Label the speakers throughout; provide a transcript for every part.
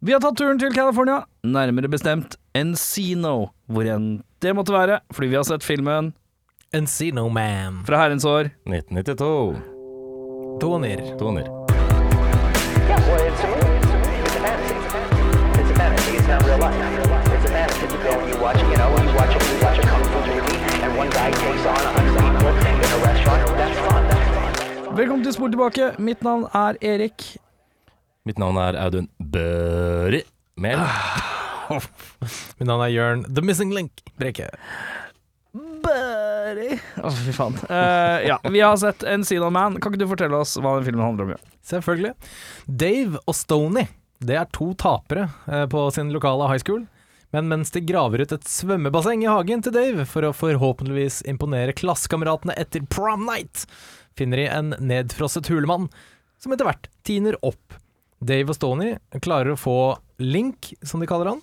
Speaker 1: Vi har tatt turen til California, nærmere bestemt Encino, hvor enn det måtte være, fordi vi har sett filmen
Speaker 2: Encino Man.
Speaker 1: fra herrens år.
Speaker 3: 1992.
Speaker 2: Toner.
Speaker 3: Toner.
Speaker 4: Yeah, well, it's a movie. It's a fantasy. It's a fantasy. It's not real life. It's a fantasy. You go and you watch, you know, you watch, a- you watch a kung fu movie, and one guy takes on a hundred people in a restaurant. That's fun. That's fun.
Speaker 1: Velkommen til Spor tilbake. Mitt navn er Erik.
Speaker 3: Mitt navn er Audun Børi Mehl.
Speaker 2: Mitt navn er Jørn The Missing Link. Brekke.
Speaker 1: Buddy. Å, fy faen. Eh, ja, vi har sett Encino Man. Kan ikke du fortelle oss hva den filmen handler om? Jørn?
Speaker 2: Selvfølgelig. Dave og Stony det er to tapere eh, på sin lokale high school. Men mens de graver ut et svømmebasseng i hagen til Dave for å forhåpentligvis imponere klassekameratene etter prom night, finner de en nedfrosset hulemann som etter hvert tiner opp. Dave og Stony klarer å få Link, som de kaller han,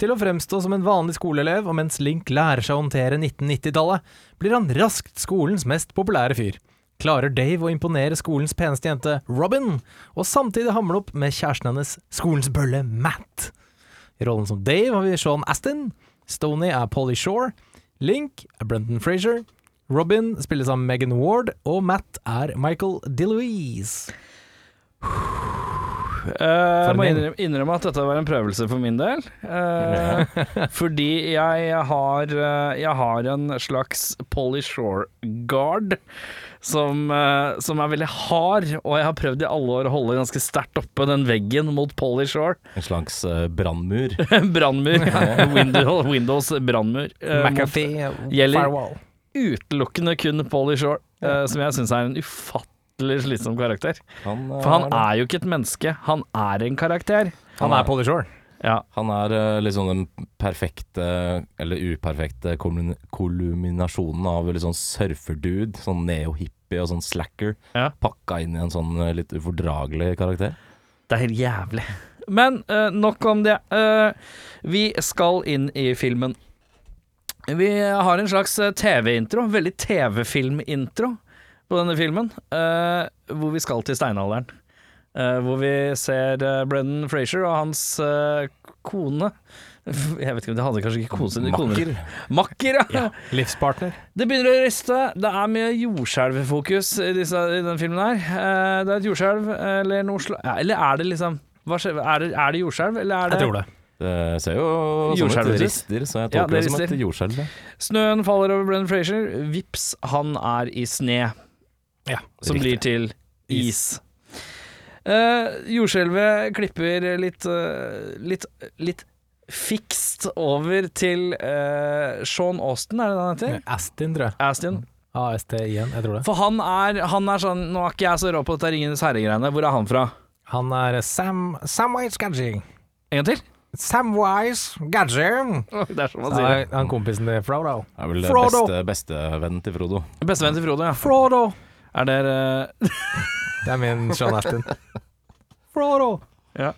Speaker 2: til å fremstå som en vanlig skoleelev, og mens Link lærer seg å håndtere 1990-tallet, blir han raskt skolens mest populære fyr. Klarer Dave å imponere skolens peneste jente Robin, og samtidig hamle opp med kjæresten hennes, skolens bølle Matt. I rollen som Dave har vi Sean Astin, Stony er Polly Shore, Link er Brendan Frazier, Robin spilles av Megan Ward, og Matt er Michael DeLuise.
Speaker 1: Eh, jeg må
Speaker 2: en
Speaker 1: innrømme, innrømme at dette var en prøvelse for min del. Eh, fordi jeg har, eh, jeg har en slags Polly Shore-guard som, eh, som er veldig hard, og jeg har prøvd i alle år å holde ganske sterkt oppe den veggen mot Polly Shore.
Speaker 3: En slags uh, brannmur.
Speaker 1: brannmur. Windows, Windows brannmur. eh, mot-
Speaker 2: McAfee,
Speaker 1: gjelder-
Speaker 2: Firewall.
Speaker 1: utelukkende kun Polly Shore, eh, som jeg syns er en ufattelig slitsom karakter.
Speaker 3: Han, eh,
Speaker 1: For han er jo ikke et menneske, han er en karakter.
Speaker 2: Han er Polly Shore.
Speaker 1: Ja.
Speaker 3: Han er eh, liksom den perfekte, eller uperfekte, kolum- kolluminasjonen av litt sånn surferdude, sånn neo-hippie og sånn slacker,
Speaker 1: Ja.
Speaker 3: pakka inn i en sånn eh, litt ufordragelig karakter.
Speaker 1: Det er helt jævlig. Men eh, nok om det. Eh, vi skal inn i filmen. Vi har en slags eh, TV-intro, veldig TV-film-intro på denne filmen, eh, hvor vi skal til steinalderen. Eh, hvor vi ser eh, Brendan Frazier og hans eh, kone Jeg vet ikke om de hadde kanskje ikke kone sine koner.
Speaker 3: Makker.
Speaker 1: Makker, ja.
Speaker 2: Livspartner.
Speaker 1: Det begynner å riste. Det er mye jordskjelvfokus i, disse, i den filmen her. Eh, det er et jordskjelv eller noe slag ja, Eller er det liksom hva skje, er, det, er det jordskjelv, eller er det
Speaker 2: Jeg tror det.
Speaker 3: Det ser jo som
Speaker 1: Jordskjelvet
Speaker 3: et
Speaker 1: ut.
Speaker 3: rister, så jeg
Speaker 1: Ja,
Speaker 3: tolker
Speaker 1: det
Speaker 3: det som et
Speaker 1: rister.
Speaker 3: jordskjelv. ja.
Speaker 1: Snøen faller over Brennan Frazier. Vips, han er i sne,
Speaker 2: Ja.
Speaker 1: som
Speaker 3: Riktig.
Speaker 1: blir til is. Eh, jordskjelvet klipper litt, eh, litt litt fikst over til eh, Sean Austen, er det det han heter?
Speaker 2: Astin, tror jeg.
Speaker 1: Astin.
Speaker 2: AST1, jeg tror det.
Speaker 1: For han er, han er sånn Nå er ikke jeg så rå på dette Ringenes herre-greiene. Hvor er han fra?
Speaker 2: Han er Sam Samwise Gadging.
Speaker 1: En gang til?
Speaker 2: Samwise Gadging.
Speaker 1: Det er som han sier.
Speaker 2: Han, han kompisen til Frodo.
Speaker 3: Er vel
Speaker 2: Frodo.
Speaker 3: beste- bestevennen til Frodo.
Speaker 1: Bestevennen til Frode, ja.
Speaker 2: Frodo!
Speaker 1: Er det eh,
Speaker 2: Det er min Sean Astin. Frodo!
Speaker 1: Ja.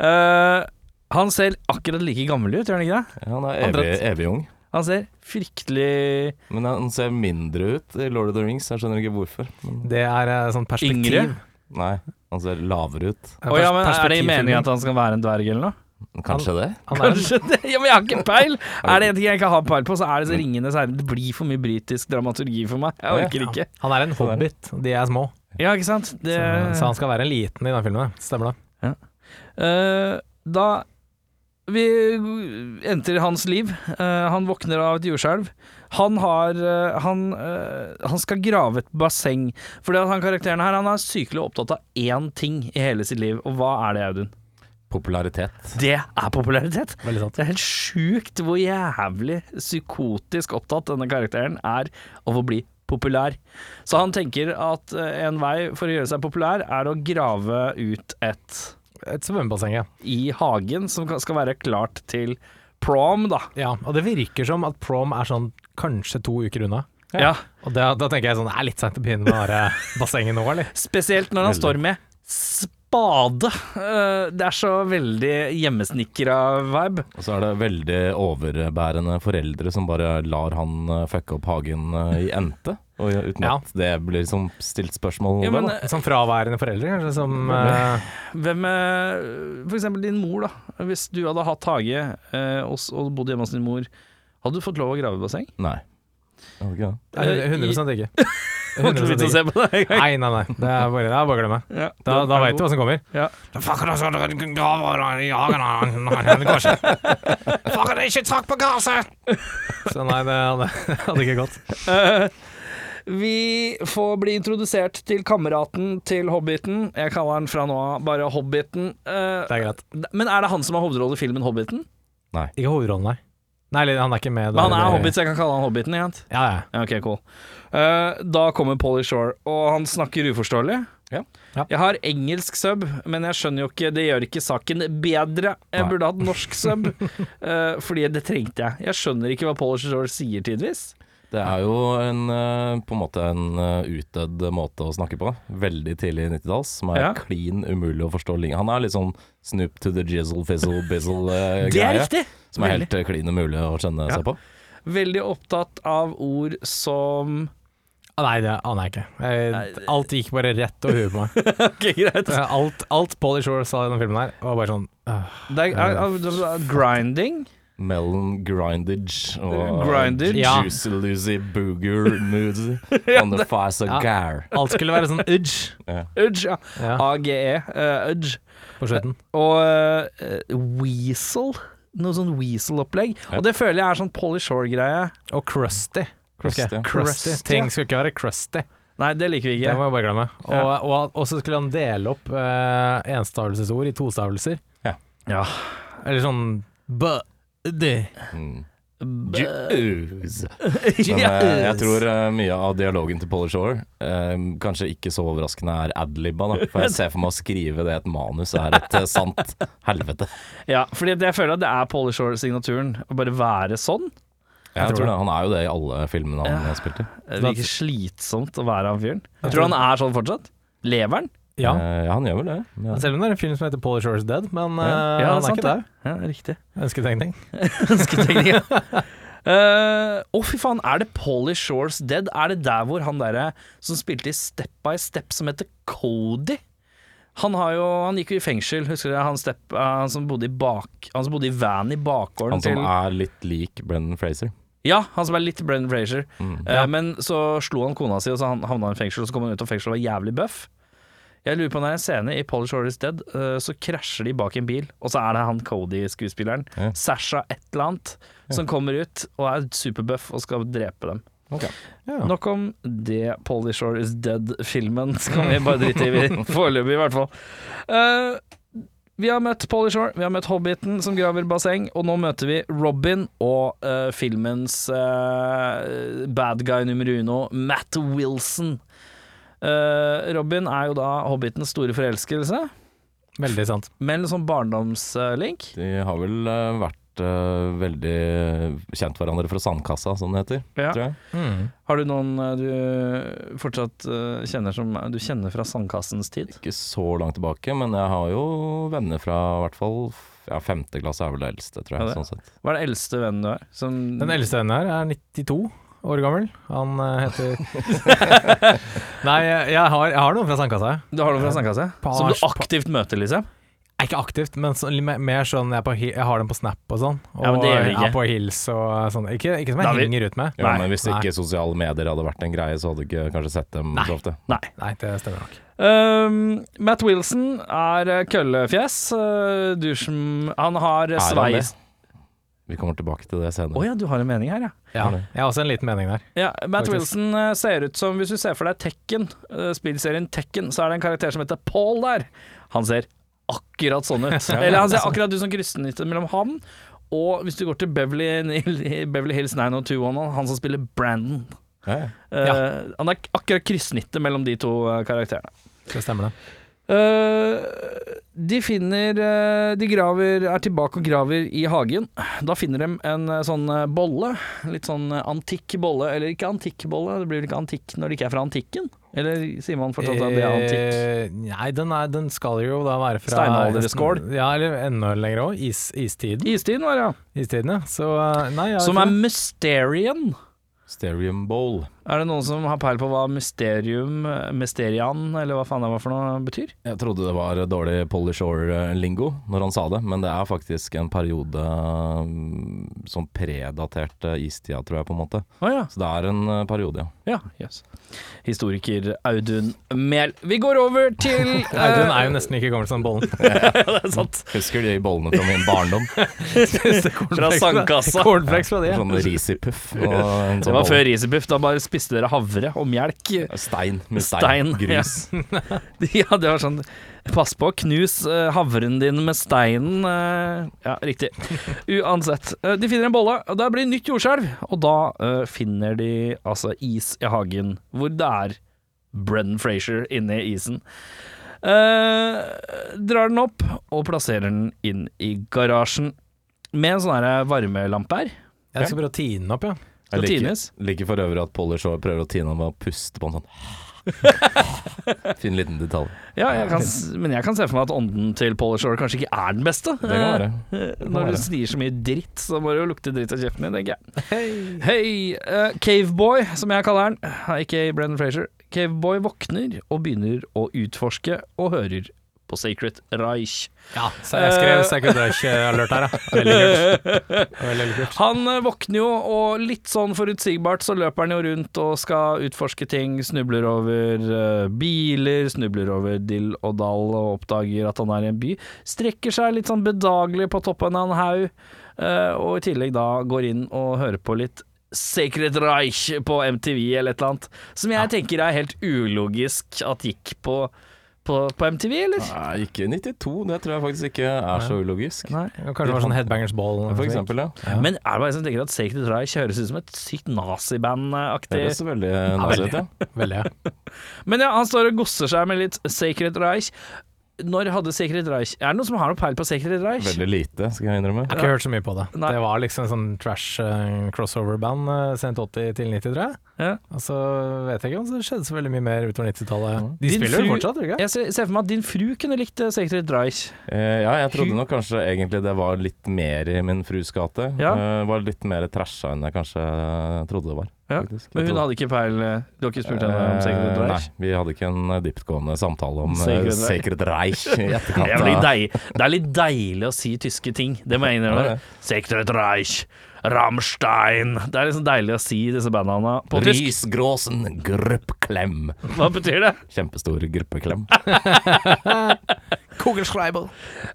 Speaker 1: Eh, han ser akkurat like gammel ut, gjør han ikke det?
Speaker 3: Ja, Han er
Speaker 1: Han
Speaker 3: evig,
Speaker 1: dratt-
Speaker 3: evig ung.
Speaker 1: Han ser fryktelig
Speaker 3: Men han ser mindre ut i Lord of the Rings, jeg skjønner ikke hvorfor. Men
Speaker 2: Det er eh, sånn perspektiv. eh,
Speaker 1: Yngre?
Speaker 3: nei, han ser lavere ut.
Speaker 2: En
Speaker 1: Å ja, men Er det i
Speaker 2: perspektivfilm.
Speaker 1: meningen at han skal være en dverg eller noe?
Speaker 3: Kanskje det?
Speaker 2: han er,
Speaker 1: Kanskje det? Ja, Men jeg har ikke peil! Er det en ting jeg ikke har peil på, så er det så ringende særlig. Det blir for mye britisk dramaturgi for meg. Jeg orker ikke.
Speaker 2: han er en hobbit. De er små.
Speaker 1: Ja, ikke sant? Det,
Speaker 2: Så han skal være en liten i den filmen. det. Stemmer det.
Speaker 1: Eh, da vi entrer hans liv. Eh, han våkner av et jordskjelv. Han har eh, han, eh, han skal grave et basseng. Fordi at han karakteren her Han er sykelig opptatt av én ting i hele sitt liv, og hva er det, Audun?
Speaker 3: Popularitet.
Speaker 1: Det er popularitet!
Speaker 2: Veldig sant.
Speaker 1: Det er helt sjukt hvor jævlig psykotisk opptatt denne karakteren er av å bli populær. Så han tenker at eh, en vei for å gjøre seg populær, er å grave ut et
Speaker 2: Et svømmebasseng, ja.
Speaker 1: i hagen som skal være klart til prom, da.
Speaker 2: ja. Og det virker som at prom er sånn kanskje to uker unna.
Speaker 1: Ja.
Speaker 2: Og da, da tenker jeg sånn Det er litt seint å begynne med det der, eh, bassenget nå, eller?
Speaker 1: Spesielt når han står med spade. Eh, Det er så veldig hjemmesnikra vibe.
Speaker 3: Og så er det veldig overbærende foreldre som bare lar han eh, fucke opp hagen eh, i ente. Og ja, uten
Speaker 2: Ja.
Speaker 3: at det blir liksom stilt spørsmål
Speaker 1: Ja,
Speaker 3: ved,
Speaker 1: men,
Speaker 3: da.
Speaker 1: eh,
Speaker 2: Som fraværende foreldre, kanskje? Som eh,
Speaker 1: Hvem eh, For eksempel din mor, da. Hvis du hadde hatt hage eh, og, s- og bodd hjemme hos din mor, hadde du fått lov å grave i basseng?
Speaker 3: Nei. Jeg hadde ikke det.
Speaker 2: nei, 100 ikke.
Speaker 1: Det var ikke noe
Speaker 2: 100%
Speaker 1: vits å
Speaker 2: ikke.
Speaker 1: se på det engang.
Speaker 2: Nei, nei, nei. Det er bare, det er bare å glemme.
Speaker 1: Ja,
Speaker 2: Da, da veit du hva som kommer.
Speaker 1: Ja.
Speaker 2: Fuck, da skal du grave i hagen Nei, det går ikke. Fuck, det er ikke trakk på gasset! Så nei, det hadde, hadde ikke gått.
Speaker 1: Eh, vi får bli introdusert til kameraten til Hobbiten. Jeg kaller han fra nå av bare Hobbiten. Eh,
Speaker 2: Det er greit.
Speaker 1: men er det han som har hovedrollen i filmen Hobbiten?
Speaker 2: Ikke hovedrollen, nei. Nei, eller han er ikke med.
Speaker 1: Men han
Speaker 2: der.
Speaker 1: er hobbit, så jeg kan kalle han Hobbiten. Ikke sant?
Speaker 2: Ja, ja.
Speaker 1: Ja, ok, cool. Eh, da kommer Polly Shore, og han snakker uforståelig.
Speaker 3: Ja.
Speaker 2: Ja.
Speaker 1: Jeg har engelsk sub, men jeg skjønner jo ikke Det gjør ikke saken bedre. Jeg
Speaker 3: Nei.
Speaker 1: burde hatt norsk sub, eh, fordi det trengte jeg. Jeg skjønner ikke hva Polly Shore sier tidvis.
Speaker 3: Det er jo en, eh, på en måte en eh, utdødd måte å snakke på. Veldig tidlig 90-talls, som er
Speaker 1: Ja.
Speaker 3: klin umulig å forstå. lenge. Han er litt sånn Snoop to the jizzle fizzle eh, bizzle-greie.
Speaker 1: Det er riktig!
Speaker 3: Som er helt eh, klin umulig å skjønne
Speaker 1: Ja.
Speaker 3: seg på.
Speaker 1: Veldig opptatt av ord som
Speaker 2: Ah, Nei, det aner jeg ikke. Jeg, alt gikk bare rett over huet på meg.
Speaker 1: Ok, greit.
Speaker 2: Eh, Alt, alt Polly Shore sa i denne filmen her, var bare sånn øh,
Speaker 1: Det er, eh, er, er, det er grinding.
Speaker 3: Melon grindage og
Speaker 1: Grindage?
Speaker 2: Ja.
Speaker 3: juicy lucy booger moods on the face of
Speaker 2: Ja.
Speaker 3: gar.
Speaker 2: Alt skulle være sånn udge
Speaker 1: Udge, ja.
Speaker 2: ja,
Speaker 1: AGE. eh, udge.
Speaker 2: på slutten.
Speaker 1: Og eh, weasel. Noe sånn weasel-opplegg.
Speaker 3: Ja.
Speaker 1: Og det føler jeg er sånn Polly Shore-greie.
Speaker 2: Og crusty. Husker
Speaker 3: Crusty,
Speaker 2: jeg.
Speaker 3: ja.
Speaker 1: Crusty,
Speaker 2: Crusty. Ting skulle ikke være crusty.
Speaker 1: Nei, det liker vi
Speaker 2: Det
Speaker 1: ikke.
Speaker 2: må jeg bare glemme. Og,
Speaker 1: Ja.
Speaker 2: og, og så skulle han dele opp eh, enstavelsesord i tostavelser.
Speaker 3: Ja.
Speaker 1: Ja.
Speaker 2: Eller sånn bø... Det.
Speaker 3: Mm.
Speaker 1: B-
Speaker 3: Juice. Men eh, jeg tror eh, mye av dialogen til Polly Shore, eh, kanskje ikke så overraskende, er adlibba. Da. For jeg ser for meg å skrive det i et manus er et eh, sant helvete.
Speaker 1: Ja, fordi det- jeg føler at det er Polly Shore-signaturen. Å bare være sånn.
Speaker 3: Jeg
Speaker 2: tror
Speaker 3: tror det. Han er jo det i alle filmene han
Speaker 1: Ja.
Speaker 3: har spilt i.
Speaker 1: Det virker slitsomt å være han fyren. Jeg tror du han er sånn fortsatt. Lever han?
Speaker 2: Ja.
Speaker 3: Eh, ja, han gjør vel det. Ja.
Speaker 2: Selv om det er en film som heter Polly Shore's Dead, men eh,
Speaker 1: Ja,
Speaker 2: han er
Speaker 1: sant
Speaker 2: ikke der.
Speaker 1: Ja, riktig.
Speaker 2: Ønsketenkning.
Speaker 1: Ønsketenkning, ja. Eh, Å, fy faen, er det Polly Shores Dead? Er det der hvor han derre som spilte i Step by Step, som heter Cody? Han, har jo, han gikk jo i fengsel, husker du? det? Han, step, eh, han, som, bodde i bak, han som bodde i van i bakgården
Speaker 3: Han som
Speaker 1: til
Speaker 3: er litt lik Brendan Fraser.
Speaker 1: Ja, han som er litt Brendan Frazier.
Speaker 3: Mm.
Speaker 1: Eh, Men så slo han kona si, og så han havna han i fengsel. Og så kom han ut av fengsel og var jævlig bøff. Jeg lurer på når det er en scene i Polish Shore is Dead, eh, så krasjer de bak en bil, og så er det han Cody-skuespilleren,
Speaker 3: Ja.
Speaker 1: Sasha et eller annet, som kommer ut og er superbøff og skal drepe dem.
Speaker 2: Ja.
Speaker 1: Nok om det Polish Shore is Dead-filmen. Skal vi bare drite i vi- foreløpig, i hvert fall. Eh, vi har møtt Polish Shore, vi har møtt Hobbiten som graver basseng, og nå møter vi Robin og eh, filmens eh, bad guy nummer uno, Matt Wilson. Eh, Robin er jo da Hobbitens store forelskelse,
Speaker 2: Veldig sant.
Speaker 1: med en sånn barndomslink.
Speaker 3: De har vel eh, vært eh, veldig kjent hverandre fra Sandkassa, som det heter.
Speaker 1: Ja.
Speaker 3: Tror jeg.
Speaker 1: Har du noen eh, du fortsatt eh, kjenner som du kjenner fra sandkassens tid?
Speaker 3: Ikke så langt tilbake, men jeg har jo venner fra i hvert fall ja, femte klasse er vel det eldste, tror jeg.
Speaker 1: Ja, det.
Speaker 3: sånn sett.
Speaker 1: Hva er det eldste vennen du er? Som
Speaker 2: Den eldste vennen her er 92 år gammel. Han eh, heter Nei, jeg jeg har, jeg har noen fra sandkassa. jeg.
Speaker 1: Du har noe fra sandkassa?
Speaker 2: Pars-
Speaker 1: Som du aktivt møter, liksom?
Speaker 2: Jeg er Ikke aktivt, men så, litt mer- mer sånn jeg, er på, hi- jeg har dem på Snap og sånn. Og
Speaker 1: Ja, men det gjør vi
Speaker 2: jeg
Speaker 1: ikke.
Speaker 2: er på Hils og sånn. Ikke, ikke som
Speaker 1: Da
Speaker 2: jeg
Speaker 1: vi-
Speaker 2: henger ut med.
Speaker 3: Ja,
Speaker 1: Nei.
Speaker 3: men hvis
Speaker 2: Nei.
Speaker 3: ikke sosiale medier hadde vært en greie, så hadde du ikke kanskje sett dem så ofte.
Speaker 2: Nei, det stemmer nok.
Speaker 1: Um, Matt Wilson er eh, køllefjes. eh, Du som Han har eh,
Speaker 3: Er han
Speaker 1: sveis
Speaker 3: Vi kommer tilbake til det
Speaker 1: Å
Speaker 3: senere.
Speaker 1: ja, du har en mening her, ja.
Speaker 2: Ja, jeg har også en liten mening der.
Speaker 1: ja Matt
Speaker 2: Faktisk.
Speaker 1: Wilson eh, ser ut som Hvis du ser for deg Tekken, eh, spillserien Tekken, så er det en karakter som heter Paul der. Han ser akkurat sånn ut. Eller han ser akkurat ut som kryssenittet mellom han og hvis du går til Beverly, Beverly Hills 90210, han som spiller Brandon.
Speaker 3: Ja, ja.
Speaker 1: Eh,
Speaker 2: Ja.
Speaker 1: Han er akkurat kryssnittet mellom de to eh, karakterene.
Speaker 2: Det stemmer, det.
Speaker 1: Eh, de finner eh, De graver, er tilbake og graver i hagen. Da finner de en eh, sånn eh, bolle. Litt sånn eh, antikk bolle. Eller ikke antikk bolle, det blir vel ikke antikk når det ikke er fra antikken? Eller sier man fortsatt at det er antikk?
Speaker 2: Eh, Nei, den, er, den skal jo da være fra
Speaker 1: Steinalderskål.
Speaker 2: Ja, eller enda lenger òg. Is, istiden.
Speaker 1: Istiden var det, ja.
Speaker 2: Istiden, ja. Så eh, nei, jeg har
Speaker 1: Som
Speaker 2: ikke
Speaker 1: er
Speaker 2: det.
Speaker 1: Mysterian.
Speaker 3: Stereum Bowl.
Speaker 1: Er det noen som har peil på hva mysterium, eh, mysterian, eller hva faen det var for noe, betyr?
Speaker 3: Jeg trodde det var dårlig Polly Shore-lingo når han sa det, men det er faktisk en periode mm, som predaterte istida, tror jeg, på en måte.
Speaker 1: Å ja.
Speaker 3: Så det er en eh, periode, ja.
Speaker 1: Ja, jøss. Historiker Audun Mehl. Vi går over til
Speaker 2: Audun
Speaker 1: eh,
Speaker 2: er jo nesten like gammel som bollen.
Speaker 1: Det er sant.
Speaker 3: Husker de bollene fra min barndom?
Speaker 1: Fra sandkassa.
Speaker 2: Cornflakes fra de. ja.
Speaker 3: Sånn ris i puff. og en
Speaker 1: Det
Speaker 3: sånn
Speaker 1: var
Speaker 3: bolle.
Speaker 1: før Risebuff. Da bare spiste dere havre og melk.
Speaker 3: Stein med stein.
Speaker 1: Stein.
Speaker 3: Grus.
Speaker 1: Ja, det var sånn Pass på å knuse eh, havren din med steinen. eh, ja, riktig. Uansett. eh, de finner en bolle, og der blir det nytt jordskjelv. Og da eh, finner de altså is i hagen, hvor det er Brennan Frazier inne i isen. Eh, drar den opp og plasserer den inn i garasjen med en sånn her varmelampe her.
Speaker 2: Jeg skal prøve å tine den opp, ja.
Speaker 1: Skal
Speaker 3: Jeg liker,
Speaker 1: tines.
Speaker 3: liker for øvrig at Polly Shore prøver å tine ham ved å puste på en sånn Fin liten detalj.
Speaker 1: Ja, jeg kan, s- men jeg kan se for meg at ånden til Polish Shore kanskje ikke er den beste.
Speaker 3: Det kan være.
Speaker 1: Eh,
Speaker 3: kan
Speaker 1: Når du
Speaker 3: være.
Speaker 1: sier så mye dritt, så må det jo lukte dritt av kjeften din, tenker jeg. Hei, eh, Caveboy, som jeg kaller han, aka Brendan Frazier. Caveboy våkner og begynner å utforske og hører på Sacred Reich.
Speaker 2: ja. Så
Speaker 1: Eh.
Speaker 2: jeg skrev Second Rush-alert her, ja. Veldig kult. Veldig, veldig kult.
Speaker 1: Han eh, våkner jo, og litt sånn forutsigbart så løper han jo rundt og skal utforske ting. Snubler over eh, biler, snubler over dill og dall og oppdager at han er i en by. Strekker seg litt sånn bedagelig på toppen av en haug, eh, og i tillegg da går inn og hører på litt Sacred Reich på MTV eller et eller annet. Som jeg tenker er helt ulogisk at gikk på, på, på MTV, eller?
Speaker 3: Nei, ikke 92, det tror jeg faktisk ikke er så ulogisk.
Speaker 1: Nei.
Speaker 2: Kanskje det var sånn Headbangers Ball.
Speaker 3: For eksempel, ja.
Speaker 1: Men er det bare jeg som tenker at Sacred Reich høres ut som et sykt naziband-aktig
Speaker 3: Høres veldig nice ut,
Speaker 2: veldig.
Speaker 3: ja.
Speaker 2: Veldig, ja.
Speaker 1: Men ja, han står og gosser seg med litt Sacred Reich. Når hadde Sacred Reich Er det noen som har noe peil på Sacred Reich?
Speaker 3: Veldig lite, skal jeg innrømme.
Speaker 2: Jeg har ikke hørt så mye på det.
Speaker 1: Nei.
Speaker 2: Det var liksom en sånn trash eh, crossover-band eh, sent 80 til 90, tror jeg.
Speaker 1: Ja.
Speaker 2: Og så vet jeg ikke om det skjedde så veldig mye mer utover 90-tallet. De
Speaker 1: Din
Speaker 2: spiller jo
Speaker 1: fru-
Speaker 2: fortsatt, gjør de ikke?
Speaker 1: Jeg ser ser for meg at din fru kunne likt eh, Sacred Reich.
Speaker 3: Eh, ja, jeg trodde nok kanskje egentlig det var litt mer i min frus gate.
Speaker 1: Ja.
Speaker 3: Eh, var litt mer trasha enn jeg kanskje trodde det var.
Speaker 1: Ja,
Speaker 3: faktisk.
Speaker 1: Men
Speaker 3: Jeg
Speaker 1: hun
Speaker 3: trodde-
Speaker 1: hadde ikke peil eh, Du har ikke spurt henne om Sacred
Speaker 3: Eh,
Speaker 1: Reich?
Speaker 3: Nei, vi hadde ikke en eh, dyptgående samtale om
Speaker 1: Sacred
Speaker 3: Sacred,
Speaker 1: Reich.
Speaker 3: Sacred Reich i etterkant.
Speaker 1: Det er, litt
Speaker 3: av-
Speaker 1: deil, det er litt deilig å si tyske ting, det må jeg
Speaker 3: Ja,
Speaker 1: innrømme.
Speaker 3: det.
Speaker 1: Sacred Reich, Rammstein Det er liksom deilig å si disse bandnavnene på tysk.
Speaker 3: Risgråsen gruppklem.
Speaker 1: Hva betyr det?
Speaker 3: Kjempestor gruppeklem.
Speaker 2: Kugelschreiber.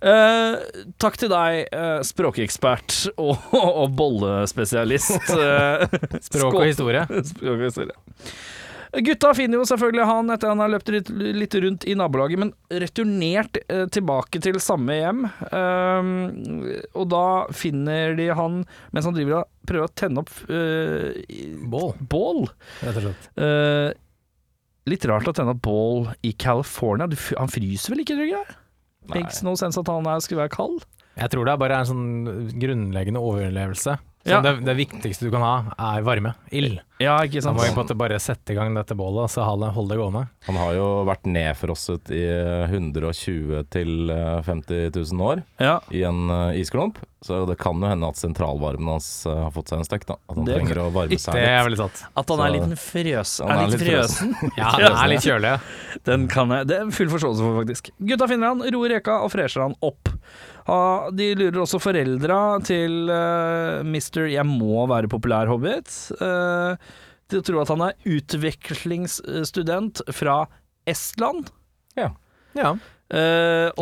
Speaker 1: Eh, takk til deg, eh, språkekspert og, og bollespesialist. Eh,
Speaker 2: Språk og historie.
Speaker 1: Språk og historie. Gutta finner jo selvfølgelig han etter han har løpt litt, litt rundt i nabolaget, men returnert eh, tilbake til samme hjem. Ehm, og da finner de han mens han driver og prøver å tenne opp eh, i-
Speaker 2: Bål,
Speaker 1: bål.
Speaker 2: rett og slett.
Speaker 1: Eh, litt rart å tenne opp bål i California. Du, f- han fryser vel ikke, tror jeg? Makes no sense at han er, skulle være kald.
Speaker 2: Jeg tror det er bare en sånn grunnleggende overlevelse.
Speaker 1: Ja.
Speaker 2: Så det, det viktigste du kan ha, er varme. Ild.
Speaker 1: Ja, ikke
Speaker 2: Da
Speaker 1: sant?
Speaker 2: må vi på en måte bare sette i gang dette bålet, og så ha det, holde det gående.
Speaker 3: Han har jo vært nedfrosset i eh, 120 til eh, 50 000 år
Speaker 1: Ja.
Speaker 3: i en eh, isklump, så det kan jo hende at sentralvarmen hans eh, har fått seg en støkk. da. At han
Speaker 1: Det-
Speaker 3: trenger å varme seg
Speaker 2: Det er
Speaker 3: litt.
Speaker 2: veldig sant.
Speaker 1: At han er
Speaker 3: Så-
Speaker 1: litt frøs.
Speaker 3: Han
Speaker 1: Er
Speaker 3: er
Speaker 1: litt
Speaker 3: litt
Speaker 1: frøsen.
Speaker 2: Ja, det er litt kjølig.
Speaker 1: Den kan jeg, det er full forståelse for, faktisk. Gutta finner han, roer reka og fresher han opp. Ha- de lurer også foreldra til uh, Mr. Jeg må være populær hobbit, eh, til å tro at han er utvekslingsstudent fra Estland.
Speaker 2: Ja.
Speaker 1: Eh, og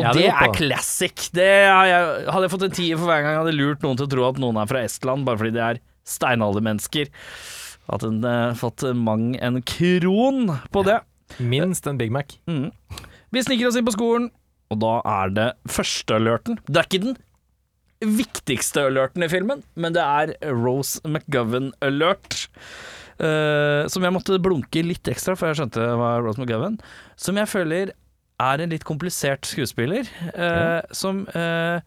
Speaker 2: Jeg hadde
Speaker 1: det
Speaker 2: gått på
Speaker 1: er
Speaker 2: det.
Speaker 1: classic. Det har jeg, hadde jeg fått en tier for hver gang jeg hadde lurt noen til å tro at noen er fra Estland, bare fordi de er steinaldermennesker. At en eh, fått mang en kron på det.
Speaker 2: Minst en Big Mac.
Speaker 1: Mm. Vi sniker oss inn på skolen, og da er det første alerten. Det er ikke den viktigste alerten i filmen, men det er Rose McGovern-alert. eh, som jeg måtte blunke litt ekstra før jeg skjønte hva Rose McGovern Som jeg føler er en litt komplisert skuespiller, eh, som eh,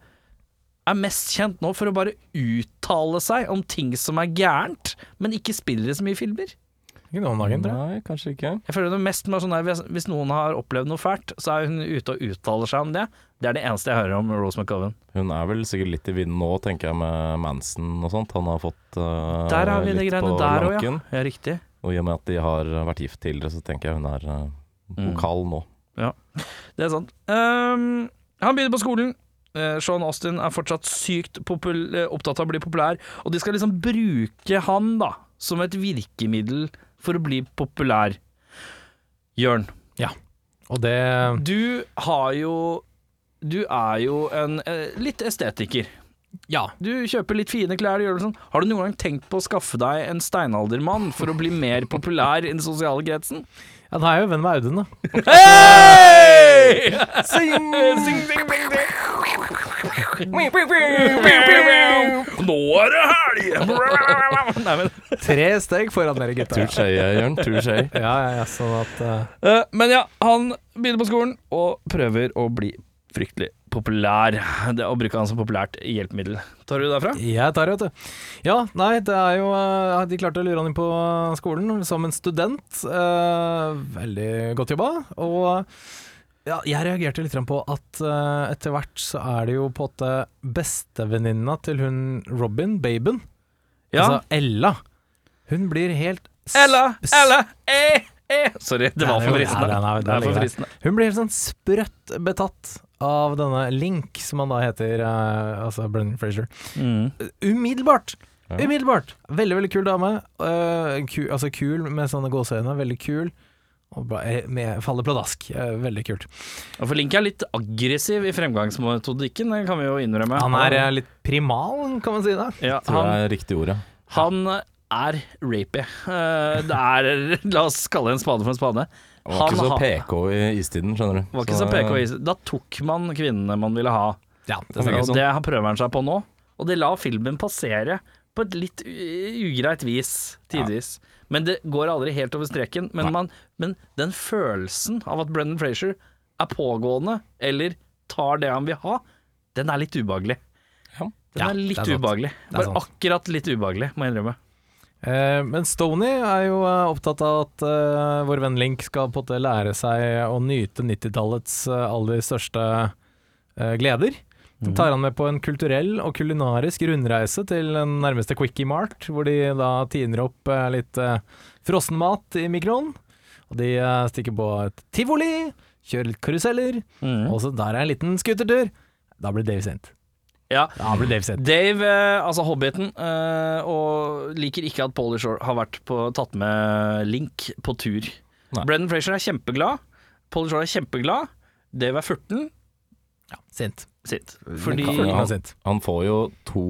Speaker 1: er mest kjent nå for å bare uttale seg om ting som er gærent, men ikke spiller i så mye filmer.
Speaker 2: Ikke noe om dagen, tror jeg.
Speaker 3: Nei, kanskje ikke.
Speaker 1: Jeg føler det mest med sånn der, hvis- Hvis noen har opplevd noe fælt, så er hun ute og uttaler seg om det. Det er det eneste jeg hører om Rose McGowan.
Speaker 3: Hun er vel sikkert litt i vinden nå, tenker jeg, med Manson og sånt. Han har fått eh,
Speaker 1: Der har vi
Speaker 3: litt
Speaker 1: de greiene
Speaker 3: på
Speaker 1: der òg, ja.
Speaker 3: lanken.
Speaker 1: ja. Riktig.
Speaker 3: Og i og med at de har vært gift tidligere, så tenker jeg hun er eh,
Speaker 1: Mm.
Speaker 3: vokal nå.
Speaker 1: Det er sant. Ehm, han begynner på skolen. Eh, Sean Austin er fortsatt sykt popul eh, opptatt av å bli populær, og de skal liksom bruke han da som et virkemiddel for å bli populær. Jørn,
Speaker 2: Og det
Speaker 1: du har jo Du er jo en eh, litt estetiker.
Speaker 2: Ja.
Speaker 1: Du kjøper litt fine klær. Gjør det sånn. Har du noen gang tenkt på å skaffe deg en steinaldermann for å bli mer populær i den sosiale kretsen?
Speaker 2: ja da er jeg jo venn med Audun, da.
Speaker 1: Hey! Nå er det helg! Nei, men,
Speaker 2: Tre steg foran dere, gutta.
Speaker 3: Tur skje, eh, Jørn. Tur skje.
Speaker 2: Ja, ja, ja, sånn at eh,
Speaker 1: Eh, men ja, han begynner på skolen og prøver å bli fryktelig populær. Det Å bruke han som populært hjelpemiddel. Tar du det derfra?
Speaker 2: Jeg tar det, vet du. Ja, nei, det er jo eh, De klarte å lure han inn på skolen som en student. Eh, veldig godt jobba. Og ja, jeg reagerte litt grann på at eh, etter hvert så er det jo på en måte bestevenninna til hun Robin, baben,
Speaker 1: Ja.
Speaker 2: altså Ella, hun blir helt s-
Speaker 1: Ella,
Speaker 2: s-
Speaker 1: Ella, eh, eh. Sorry, det var
Speaker 2: Nei,
Speaker 1: for
Speaker 2: nei,
Speaker 1: fristende.
Speaker 2: nei, nei,
Speaker 1: Det er for
Speaker 2: ligger
Speaker 1: fristende.
Speaker 2: Hun blir helt sånn sprøtt betatt av denne Link, som han da heter, eh, altså Brendan Fraser.
Speaker 1: Mm.
Speaker 2: Umiddelbart!
Speaker 3: Ja.
Speaker 2: Umiddelbart! Veldig, veldig kul dame. Eh, ku, altså kul med sånne gåseøyne. Veldig kul. Og ba, eh, med, faller pladask. Eh, veldig kult.
Speaker 1: Og for Link er litt aggressiv i fremgangsmetodikken, det kan vi jo innrømme.
Speaker 2: Han er eh, litt primal, kan man si det.
Speaker 1: ja,
Speaker 3: Tror
Speaker 1: han,
Speaker 3: jeg er riktig ordet.
Speaker 1: han er rapey. Eh, det er La oss kalle en spade for en spade.
Speaker 3: Han var ikke så
Speaker 1: har-
Speaker 3: PK i istiden, skjønner du. eh,
Speaker 1: var ikke så PK i- Da tok man kvinnene man ville ha.
Speaker 2: Ja, eh, det
Speaker 3: stemmer.
Speaker 1: Og det har prøver han seg på nå. Og det la filmen passere på et litt u- ugreit vis, tidvis. Men det går aldri helt over streken. Men, man, men den følelsen av at Brendan Frazier er pågående, eller tar det han vil ha, den er litt ubehagelig.
Speaker 3: Ja.
Speaker 1: Den
Speaker 2: Ja,
Speaker 1: er
Speaker 2: det
Speaker 1: litt
Speaker 2: er sant.
Speaker 1: ubehagelig.
Speaker 2: Det er
Speaker 1: Bare
Speaker 2: sant.
Speaker 1: akkurat litt ubehagelig, må jeg innrømme.
Speaker 2: Eh, men Stony er jo eh, opptatt av at eh, vår venn Link skal på en måte lære seg å nyte 90-tallets eh, aller største eh, gleder. Så tar han med på en kulturell og kulinarisk rundreise til den nærmeste Quickie Mart, hvor de da tiner opp eh, litt eh, frossenmat i mikroen. Og de eh, stikker på et tivoli, kjører litt karuseller, og så der er en liten skutertur. Da blir Dave sint.
Speaker 1: Ja.
Speaker 2: Da blir Dave sint.
Speaker 1: Dave, eh, altså Hobbiten, eh, og liker ikke at Polly Shore har vært på, tatt med Link på tur.
Speaker 3: Nei.
Speaker 1: Brendan Frazier er kjempeglad. Polly Shore er kjempeglad. Dave er 14.
Speaker 2: Ja, sint.
Speaker 1: Sitt. Fordi
Speaker 3: kan-
Speaker 2: Han er sint.
Speaker 3: Han får jo to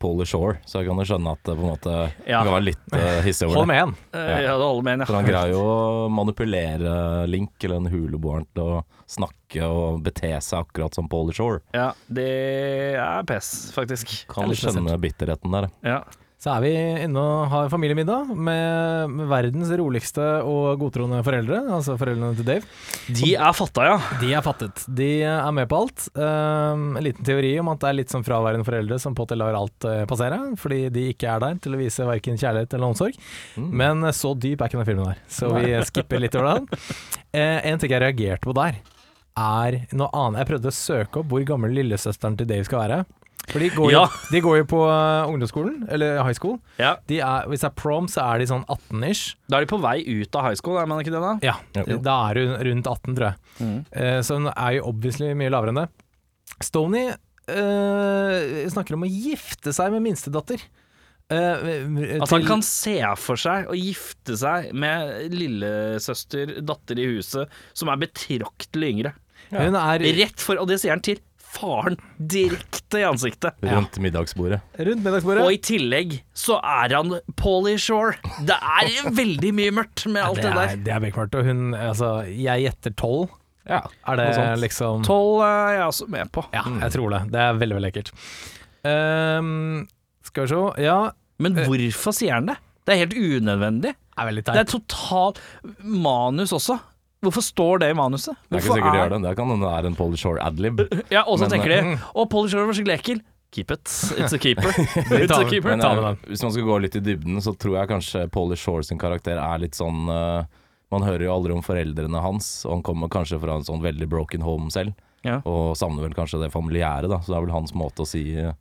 Speaker 3: Polar Shore, så jeg kan jo skjønne at det på en måte
Speaker 1: Ja.
Speaker 3: kan være litt eh, hissig over
Speaker 2: Hold
Speaker 3: det.
Speaker 2: med han.
Speaker 1: Eh, Ja, det holder med en,
Speaker 3: For han
Speaker 1: ja.
Speaker 3: greier jo å manipulere Link eller en huleboeren til å snakke og bete seg akkurat som Polar Shore.
Speaker 1: ja. Det er pes, faktisk.
Speaker 3: Kan skjønne bitterheten der.
Speaker 1: Ja.
Speaker 2: Så er vi inne og har familiemiddag med, med verdens roligste og godtroende foreldre, altså foreldrene til Dave.
Speaker 1: De er fatta, ja.
Speaker 2: De er fattet. De er med på alt. Um, en liten teori om at det er litt som fraværende foreldre som på en måte lar alt eh, passere, fordi de ikke er der til å vise verken kjærlighet eller omsorg. Men eh, så dyp er ikke den filmen der, så vi skipper litt over den. Eh, en ting jeg reagerte på der, er noe annet. Jeg prøvde å søke opp hvor gammel lillesøsteren til Dave skal være. For de går,
Speaker 1: Ja.
Speaker 2: jo, de går jo på eh, ungdomsskolen, eller high school.
Speaker 1: ja.
Speaker 2: De er, hvis det er prom, så er de sånn 18-ish.
Speaker 1: Da er de på vei ut av high school, er man ikke det da?
Speaker 2: Ja,
Speaker 3: Jo.
Speaker 2: da er hun rundt 18, tror jeg.
Speaker 1: Mhm.
Speaker 2: Eh, så hun er jo obviously mye lavere enn det. Stony eh, snakker om å gifte seg med minstedatter. Eh,
Speaker 1: At Altså, han
Speaker 2: til-
Speaker 1: kan se for seg å gifte seg med lillesøster, datter i huset, som er betraktelig yngre.
Speaker 2: Hun er
Speaker 1: Rett for, og det sier han til faren direkte i ansiktet.
Speaker 3: Rundt middagsbordet.
Speaker 2: rundt
Speaker 1: Og
Speaker 2: middagsbordet.
Speaker 1: i tillegg så er han Polly Shore. Det er veldig mye mørkt med alt
Speaker 2: det,
Speaker 1: det
Speaker 2: er,
Speaker 1: der.
Speaker 2: det er bekmørkt. Og hun Altså, jeg gjetter tolv.
Speaker 3: Ja.
Speaker 2: Er det
Speaker 3: Noe sånt.
Speaker 2: liksom
Speaker 1: Tolv eh, Mm. er jeg også med på.
Speaker 2: Ja, jeg tror det. Det er veldig, veldig ekkelt. Eh, skal vi se Ja,
Speaker 1: Men hvorfor sier han det? Det er helt unødvendig.
Speaker 2: er veldig
Speaker 1: Det er
Speaker 2: teit.
Speaker 1: totalt Manus også. Hvorfor står det i manuset?
Speaker 3: Det er ikke sikkert de gjør det. Det kan hende det er en Polar Shore adlib.
Speaker 1: Ja, og så
Speaker 3: Men- eh,
Speaker 1: tenker de Å, Polly Shore var skikkelig ekkel. Keep it. It's a keeper. It's a keeper.
Speaker 3: Men
Speaker 2: Ta
Speaker 3: eh,
Speaker 2: med
Speaker 3: hvis man skal gå litt i dybden, så tror jeg kanskje Polly Shore sin karakter er litt sånn eh, Man hører jo aldri om foreldrene hans, og han kommer kanskje fra en sånn veldig broken home selv.
Speaker 1: Ja.
Speaker 3: Og savner vel kanskje det familiære, da, så det er vel hans måte å si eh,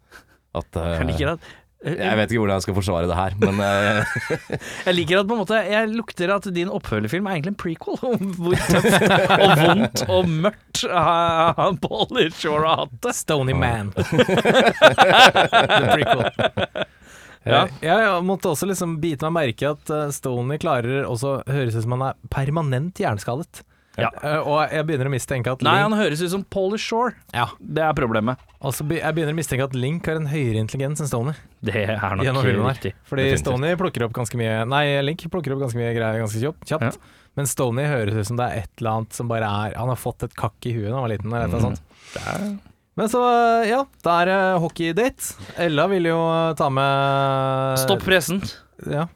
Speaker 3: at eh,
Speaker 1: Jeg liker at
Speaker 3: Jeg vet ikke hvordan jeg skal forsvare det her, men eh,
Speaker 1: Jeg liker at på en måte Jeg lukter at din oppfølgerfilm er egentlig en prequel om hvor tøft og vondt og mørkt eh, han Paulie Shore har hatt det.
Speaker 2: Stony Man. The prequel.
Speaker 1: Ja.
Speaker 2: Eh, Jeg måtte også liksom bite meg merke i at eh, Stoney klarer også høres ut som han er permanent hjerneskadet.
Speaker 1: Ja.
Speaker 2: Eh, Og jeg begynner å mistenke at
Speaker 1: Nei,
Speaker 2: Link,
Speaker 1: han høres ut som Paulie Shore.
Speaker 2: ja,
Speaker 1: Det er problemet.
Speaker 2: altså be- jeg begynner å mistenke at Link har en høyere intelligens enn Stoney.
Speaker 1: Det er nok
Speaker 2: Gjennom filmen her.
Speaker 1: riktig.
Speaker 2: Fordi
Speaker 3: Definitivt.
Speaker 2: Stoney plukker opp ganske mye Nei, Link plukker opp ganske mye greier ganske kjapt. kjapt.
Speaker 1: Ja.
Speaker 2: Men Stoney høres ut som det er et eller annet som bare er Han har fått et kakk i huet da han var liten. Eller et eller annet sånt. Men så, ja. Da er det hockeydate. Ella ville jo ta med
Speaker 1: Stopp pressen.
Speaker 2: Ja.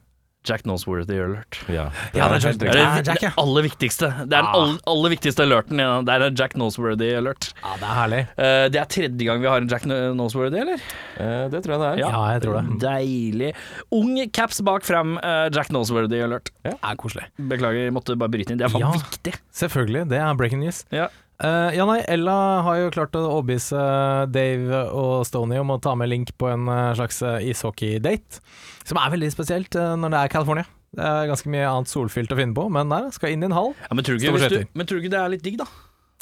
Speaker 1: Jack Nosworthy alert.
Speaker 3: ja.
Speaker 2: Ja, det er
Speaker 3: helt
Speaker 2: Jack-
Speaker 1: Det
Speaker 3: riktig.
Speaker 1: er
Speaker 2: Jack,
Speaker 1: det
Speaker 2: ja.
Speaker 1: aller viktigste. Det er den
Speaker 2: Ah.
Speaker 1: aller, aller viktigste alerten. i den. Det er en Jack Nosworthy alert.
Speaker 2: ja, det er herlig.
Speaker 1: Eh, det er tredje gang vi har en Jack N- Nosworthy, eller?
Speaker 3: Eh, Det tror jeg det er.
Speaker 2: Ja, jeg tror det.
Speaker 1: Deilig. Ung caps bak frem, eh, Jack Nosworthy alert.
Speaker 2: Det er koselig.
Speaker 1: Beklager, jeg måtte bare bryte inn. Det er faen
Speaker 2: Ja.
Speaker 1: viktig.
Speaker 2: Selvfølgelig. Det er breaking news.
Speaker 1: Ja.
Speaker 2: Eh, ja, nei, Ella har jo klart å overbevise Dave og Stoney om å ta med Link på en eh, slags eh, ishockey-date. Som er veldig spesielt eh, når det er California. Det er ganske mye annet solfylt å finne på, men nei, skal inn i en hall.
Speaker 1: Ja, men, tror du ikke,
Speaker 2: Store
Speaker 1: hvis du,
Speaker 2: skøyter.
Speaker 1: men tror du ikke det er litt digg, da?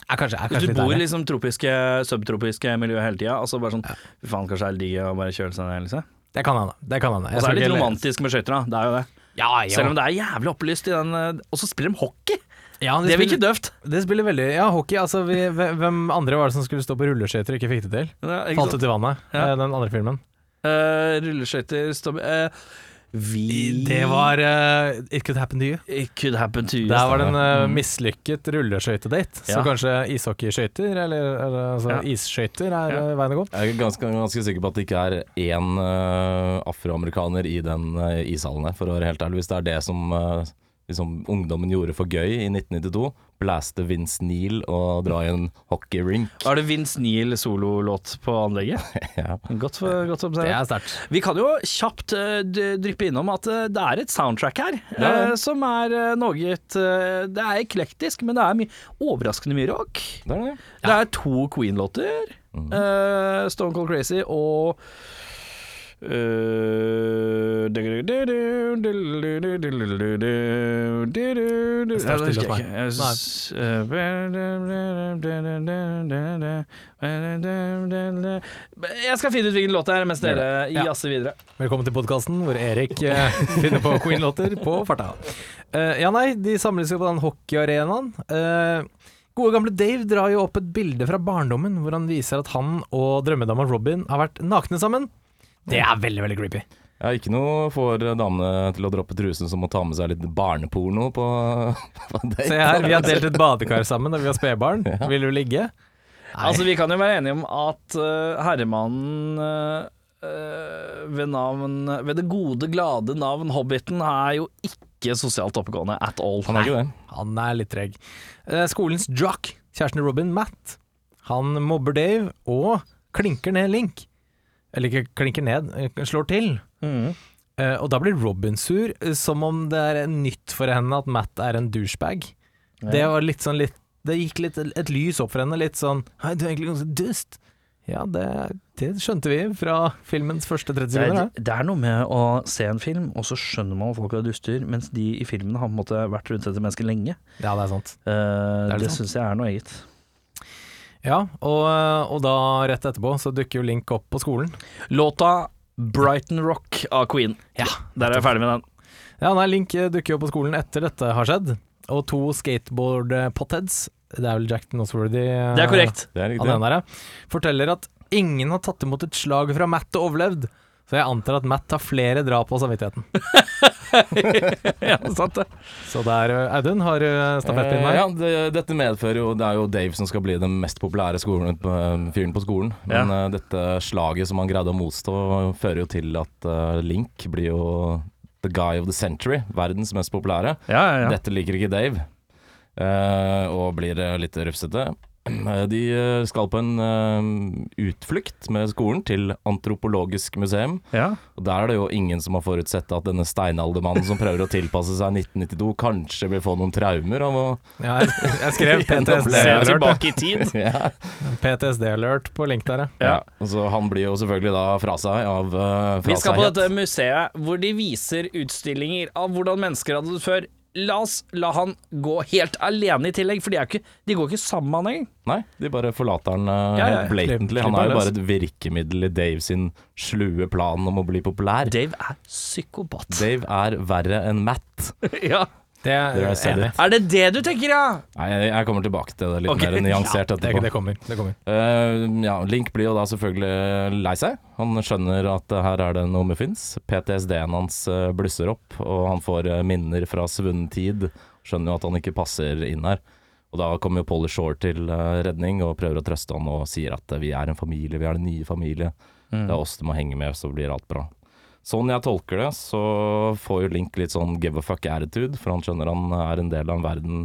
Speaker 2: Er kanskje, er
Speaker 1: Hvis
Speaker 2: kanskje
Speaker 1: du
Speaker 2: litt
Speaker 1: bor i
Speaker 2: deilig.
Speaker 1: liksom tropiske, subtropiske miljø hele tida. Altså bare sånn Fy faen, kanskje det er digg å bare kjøle seg ned, liksom.
Speaker 2: Det kan hende. Det kan hende.
Speaker 1: Og
Speaker 2: Jeg
Speaker 1: så
Speaker 2: skal
Speaker 1: er det litt
Speaker 2: ikke-
Speaker 1: romantisk med skøyter, da. Det er jo det.
Speaker 2: Ja, ja.
Speaker 1: Selv om det er jævlig opplyst i den eh, Og så spiller de hockey!
Speaker 2: ja,
Speaker 1: Det blir ikke
Speaker 2: spiller,
Speaker 1: døvt.
Speaker 2: det spiller veldig Ja, hockey. Altså, vi, hvem andre var det som skulle stå på rulleskøyter og ikke fikk det til?
Speaker 1: Ja, ikke
Speaker 2: Falt
Speaker 1: sant?
Speaker 2: ut i vannet,
Speaker 1: Ja.
Speaker 2: eh, den andre filmen.
Speaker 1: Eh, rulleskøyter stopp eh, Vi
Speaker 2: Det var eh, It Could Happen to You.
Speaker 1: It could happen to you.
Speaker 2: Der var det en eh,
Speaker 1: Mm.
Speaker 2: mislykket rulleskøytedate, så
Speaker 1: Ja.
Speaker 2: kanskje ishockeyskøyter, eller, eller altså,
Speaker 1: Ja.
Speaker 2: isskøyter, er
Speaker 1: Ja.
Speaker 2: eh, veien å gå.
Speaker 3: Jeg er ganske, ganske sikker på at det ikke er én eh, afroamerikaner i den eh, ishallen her, for å være helt ærlig. Hvis det er det som eh, liksom, ungdommen gjorde for gøy i 1992, blaste Vince Neil og dra i en hockeyrink.
Speaker 1: Er det Vince Neil sololåt på anlegget?
Speaker 3: Ja.
Speaker 1: Godt, for- godt observert.
Speaker 2: sterkt.
Speaker 1: Vi kan jo kjapt eh, d- dryppe innom at eh, det er et soundtrack her,
Speaker 3: er det.
Speaker 1: eh, som er eh, noe eh, Det er eklektisk, men det er mye, overraskende mye rock.
Speaker 3: Det er det.
Speaker 1: Det er to Queen-låter. eh, Stone Cold Crazy og eh, Jeg eh,
Speaker 2: står stille hos meg.
Speaker 1: husker ikke. Jeg skal finne ut hvilken låt det er, mens dere
Speaker 2: Ja.
Speaker 1: jazzer videre.
Speaker 2: Velkommen til podkasten hvor Erik eh, finner på Queen-låter på farta. Eh, ja, nei, de samles jo på den hockeyarenaen. Eh, gode gamle Dave drar jo opp et bilde fra barndommen hvor han viser at han og drømmedama Robin har vært nakne sammen. Det er veldig, veldig creepy.
Speaker 3: Ja, ikke noe får damene til å droppe trusen som å ta med seg litt barneporno på, på date.
Speaker 2: Se her, vi har delt et badekar sammen da vi var spedbarn. Vil du ligge? Nei.
Speaker 1: Altså, vi kan jo være enige om at eh, herremannen eh, eh, ved, navn, ved det gode, glade navn Hobbiten er jo ikke sosialt oppegående at all.
Speaker 3: Han er ikke det.
Speaker 2: Han er litt treg. Eh, Skolens jock, kjæresten til Robin, Matt, han mobber Dave og klinker ned Link. Eller ikke klinker ned, eh, slår til.
Speaker 1: Mm.
Speaker 2: Eh, og da blir Robin sur, eh, som om det er nytt for henne at Matt er en douchebag. Det var litt sånn litt Det gikk litt et lys opp for henne, litt sånn Hei, du er egentlig ganske dust. Ja, det, det skjønte vi fra filmens første 30
Speaker 1: Det,
Speaker 2: sekunder.
Speaker 1: er, det er noe med å se en film, og så skjønner man at folk er duster, mens de i filmene har på en måte vært rundt dette mennesket lenge.
Speaker 2: da. Ja, det er sant.
Speaker 1: Eh,
Speaker 2: Det er
Speaker 1: det
Speaker 2: litt sant.
Speaker 1: syns jeg er noe eget.
Speaker 2: Ja, og, og da rett etterpå så dukker jo Link opp på skolen.
Speaker 1: Låta 'Brighton Rock' av Queen.
Speaker 2: Ja,
Speaker 1: Der er jeg ferdig med den.
Speaker 2: Ja, nei, Link eh, dukker jo opp på skolen etter dette har skjedd, og to skateboard-potheads, det er vel Jack Nosworthy eh,
Speaker 1: Det er korrekt.
Speaker 3: Det er
Speaker 2: av
Speaker 3: riktig.
Speaker 2: den der, ja, forteller at ingen har tatt imot et slag fra Matt og overlevd, så jeg antar at Matt har flere drap på samvittigheten.
Speaker 1: ja, sant det.
Speaker 2: Så der, eh, Audun, har du eh, stafettpinnen
Speaker 3: Eh,
Speaker 2: her?
Speaker 3: ja, det, dette medfører jo Det er jo Dave som skal bli den mest populære skolen, på- fyren på skolen. Men eh, dette slaget som han greide å motstå, fører jo til at eh, Link blir jo the guy of the century. Verdens mest populære.
Speaker 1: Ja, ja, ja.
Speaker 3: Dette liker ikke Dave, eh, og blir eh, litt rufsete. Eh, De eh, skal på en eh, utflukt med skolen til Antropologisk museum.
Speaker 1: Ja.
Speaker 3: Og Der er det jo ingen som har forutsett at denne steinaldermannen som prøver å tilpasse seg 1992, kanskje vil få noen traumer av å
Speaker 2: Ja, jeg, jeg skrev
Speaker 3: Gjenoppleve
Speaker 5: Se
Speaker 3: det.
Speaker 2: PTSD-alert
Speaker 5: tilbake i tid.
Speaker 3: ja.
Speaker 2: PTSD-alert på link der, ja.
Speaker 1: Ja.
Speaker 3: Ja. Så han blir jo selvfølgelig da fra seg av eh,
Speaker 1: Vi
Speaker 3: fra
Speaker 1: skal
Speaker 3: seg
Speaker 1: på
Speaker 3: het.
Speaker 1: dette museet hvor de viser utstillinger av hvordan mennesker hadde det før. La oss la han gå helt alene i tillegg, for de, er jo ikke, de går ikke sammen med han engang.
Speaker 3: Nei, de bare forlater han eh,
Speaker 1: Ja, ja.
Speaker 3: helt blatantly.
Speaker 2: Klipp-
Speaker 3: Han
Speaker 2: klipper
Speaker 3: er jo
Speaker 2: løs.
Speaker 3: bare et virkemiddel i Dave sin slue plan om å bli populær.
Speaker 1: Dave er psykopat.
Speaker 3: Dave er verre enn Matt.
Speaker 1: Ja.
Speaker 2: Det er
Speaker 3: Dere har
Speaker 2: jeg
Speaker 3: sett
Speaker 2: enig i.
Speaker 3: det.
Speaker 1: Er det det du tenker, ja?
Speaker 3: Nei, jeg- jeg kommer tilbake til det litt
Speaker 1: Ok.
Speaker 3: mer nyansert
Speaker 2: Det,
Speaker 3: etterpå.
Speaker 2: det kommer. Det kommer.
Speaker 3: Eh, ja, Link blir jo da selvfølgelig lei seg. Han skjønner at her er det noe muffins. PTSD-en hans eh, blusser opp, og han får eh, minner fra svunnen tid. Skjønner jo at han ikke passer inn her. Og da kommer jo Polly Shore til eh, redning og prøver å trøste han og sier at eh, vi er en familie, vi er den nye familie. Det er oss du må henge med, så blir alt bra. Sånn jeg tolker det, så får jo Link litt sånn give a fuck attitude, for han skjønner han er en del av en verden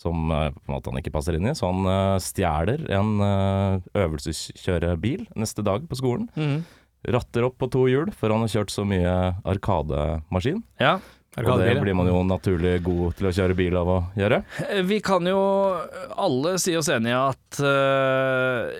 Speaker 3: som eh, på en måte han ikke passer inn i. Så han eh, stjeler en eh, øvelseskjørebil neste dag på skolen.
Speaker 1: Mm.
Speaker 3: Ratter opp på to hjul, for han har kjørt så mye arkademaskin.
Speaker 1: Ja.
Speaker 3: Og det
Speaker 2: Arkadebil, ja.
Speaker 3: blir man jo naturlig god til å kjøre bil av å gjøre.
Speaker 1: Vi kan jo alle si oss enige i at eh,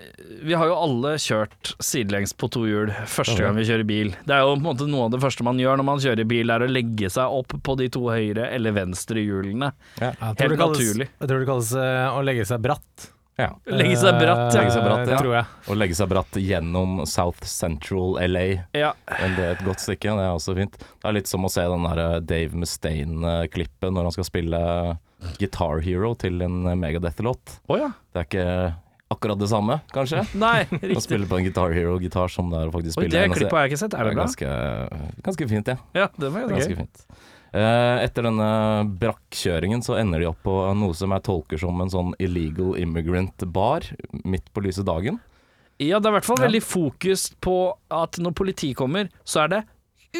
Speaker 1: vi har jo alle kjørt sidelengs på to hjul første gang vi kjører bil. Det er jo på en måte noe av det første man gjør når man kjører bil, er å legge seg opp på de to høyre eller venstre hjulene.
Speaker 2: Jeg tror
Speaker 1: Helt
Speaker 2: det kalles-
Speaker 1: naturlig.
Speaker 2: Jeg tror det kalles eh, å legge seg bratt.
Speaker 3: Ja.
Speaker 1: Legge seg bratt,
Speaker 2: Eh,
Speaker 1: ja.
Speaker 3: Legge seg bratt, ja.
Speaker 2: Tror jeg.
Speaker 3: Og legge seg bratt gjennom South Central LA.
Speaker 1: ja.
Speaker 3: Men det er et godt stykke, det er også fint. Det er litt som å se den der eh, Dave Mustaine-klippet når han skal spille eh, Guitar Hero til en eh, Megadeth-låt.
Speaker 1: Å ja.
Speaker 3: Det er ikke akkurat det samme, kanskje?
Speaker 1: Nei,
Speaker 3: Å
Speaker 1: riktig.
Speaker 3: spille på en Guitar Hero-gitar som det er å faktisk
Speaker 1: Oi,
Speaker 3: spille
Speaker 1: det
Speaker 3: en, altså,
Speaker 1: klippet har jeg ikke sett. Er det
Speaker 3: det er
Speaker 1: bra?
Speaker 3: ganske, eh, ganske fint, ja.
Speaker 1: Ja, det var
Speaker 3: Ganske
Speaker 1: ganske gøy.
Speaker 3: fint. Eh, etter denne brakkjøringen så ender de opp på noe som jeg tolker som en sånn illegal immigrant-bar midt på lyse dagen.
Speaker 1: Ja, det er i hvert fall veldig fokus på at når politiet kommer, så er det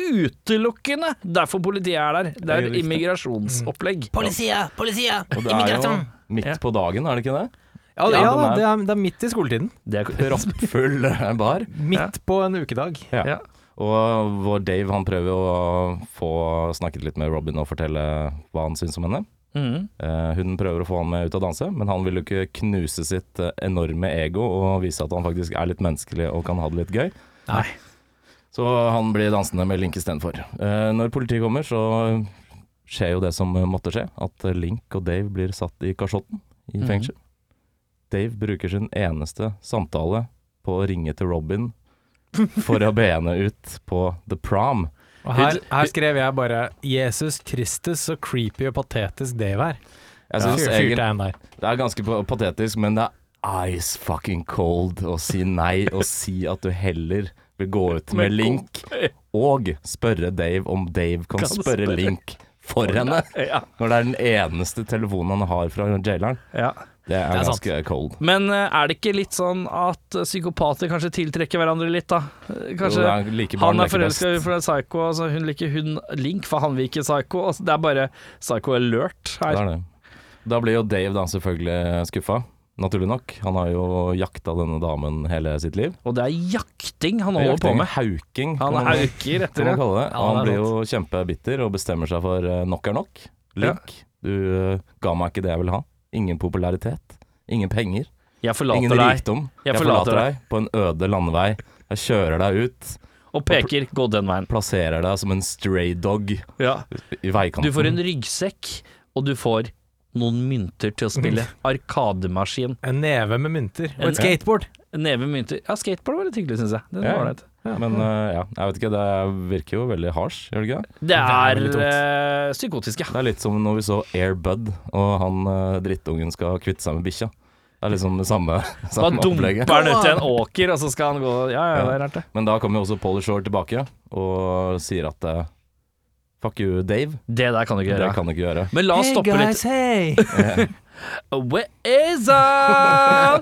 Speaker 1: utelukkende derfor politiet er der. Det er
Speaker 3: Det er
Speaker 1: et
Speaker 3: riktig. Mm.
Speaker 1: immigrasjonsopplegg.
Speaker 6: Politiet, politiet,
Speaker 3: Og det er jo
Speaker 6: immigranten.
Speaker 3: midt på dagen, er det ikke det?
Speaker 2: Ja,
Speaker 3: Ja,
Speaker 2: ja,
Speaker 3: den er-
Speaker 2: det, er, det er midt i skoletiden.
Speaker 1: Det er
Speaker 3: Proppfull eh, bar.
Speaker 2: Midt på en ukedag.
Speaker 3: Ja.
Speaker 1: Ja.
Speaker 3: Og vår Dave han prøver å få snakket litt med Robin og fortelle hva han syns om henne.
Speaker 1: Mhm.
Speaker 3: Eh, hun prøver å få han med ut og danse, men han vil jo ikke knuse sitt eh, enorme ego og vise at han faktisk er litt menneskelig og kan ha det litt gøy.
Speaker 2: Nei.
Speaker 3: Så han blir dansende med Link istedenfor. Eh, når politiet kommer, så skjer jo det som eh, måtte skje, at Link og Dave blir satt i kasjotten i
Speaker 1: Mhm.
Speaker 3: fengsel. Dave bruker sin eneste samtale på å ringe til Robin for å be henne ut på The Prom.
Speaker 2: Og her, her skrev jeg bare 'Jesus Kristus, så creepy og patetisk Dave er'. Ja.
Speaker 3: Jeg
Speaker 2: Fyr-
Speaker 3: synes egentlig-
Speaker 2: Fyrte jeg en der.
Speaker 3: Det er ganske pa- patetisk, men det er ice fucking cold å si nei og si at du heller vil gå ut med Link og spørre Dave om Dave kan, spørre, Link for henne.
Speaker 1: Ja.
Speaker 3: Når det er den eneste telefonen han har fra jaileren.
Speaker 1: Ja.
Speaker 3: Det er,
Speaker 2: er sant.
Speaker 3: ganske cold.
Speaker 1: Men eh, er det ikke litt sånn at eh, psykopater kanskje tiltrekker hverandre litt, da? Eh, Kanskje
Speaker 3: Jo, det er like barn
Speaker 1: han er
Speaker 3: leker best.
Speaker 1: forelska i for det er psycho, altså hun liker hun Link, for han vil ikke psycho. Altså, det er bare psycho alert
Speaker 3: Det
Speaker 1: her.
Speaker 3: er det. Da blir jo Dave da selvfølgelig skuffa, naturlig nok. Han har jo jakta denne damen hele sitt liv.
Speaker 1: Og det er jakting han holder på
Speaker 3: Jakting,
Speaker 1: med.
Speaker 3: Hauking. kan
Speaker 1: Han
Speaker 3: man-
Speaker 1: hauker
Speaker 3: kan
Speaker 1: etter
Speaker 3: man
Speaker 1: det.
Speaker 3: kalle det.
Speaker 2: Ja,
Speaker 3: han
Speaker 2: det
Speaker 3: blir
Speaker 2: er
Speaker 3: jo kjempebitter og bestemmer seg for eh, nok er nok. Link, du eh, ga meg ikke det jeg ville ha. Ingen popularitet, ingen penger,
Speaker 1: Jeg
Speaker 3: ingen
Speaker 1: forlater deg
Speaker 3: rikdom.
Speaker 1: Jeg
Speaker 3: Jeg,
Speaker 1: forlater
Speaker 3: forlater deg på en øde landevei. Jeg kjører deg ut,
Speaker 1: og peker 'gå den veien'.
Speaker 3: plasserer deg som en stray dog
Speaker 1: Ja.
Speaker 3: i veikanten.
Speaker 1: Du får en ryggsekk, og du får noen mynter til å spille arkademaskin.
Speaker 2: En neve med mynter. Og
Speaker 1: En-
Speaker 2: et skateboard.
Speaker 1: Neve mynter Ja, skateboard var litt hyggelig, syns jeg. Den
Speaker 3: Ja.
Speaker 1: var ålreit.
Speaker 3: Men eh, ja, jeg vet ikke, det virker jo veldig harsh, gjør det ikke? det?
Speaker 1: Det er
Speaker 2: veldig tungt.
Speaker 1: eh, psykotisk, ja.
Speaker 3: Det er litt som når vi så Air Bud, og han eh, drittungen skal kvitte seg med bikkja. Det er liksom det samme,
Speaker 1: Bare
Speaker 3: samme opplegget.
Speaker 1: dumper han ut i en åker, og så skal han gå Ja, ja, det er rart, det.
Speaker 3: Men da kommer jo også Polly Shore tilbake og sier at eh, Fuck you, Dave.
Speaker 1: Det der kan du ikke
Speaker 3: Det
Speaker 1: gjøre.
Speaker 3: kan du ikke gjøre.
Speaker 1: Men la oss stoppe litt.
Speaker 2: hey!
Speaker 1: Where is I?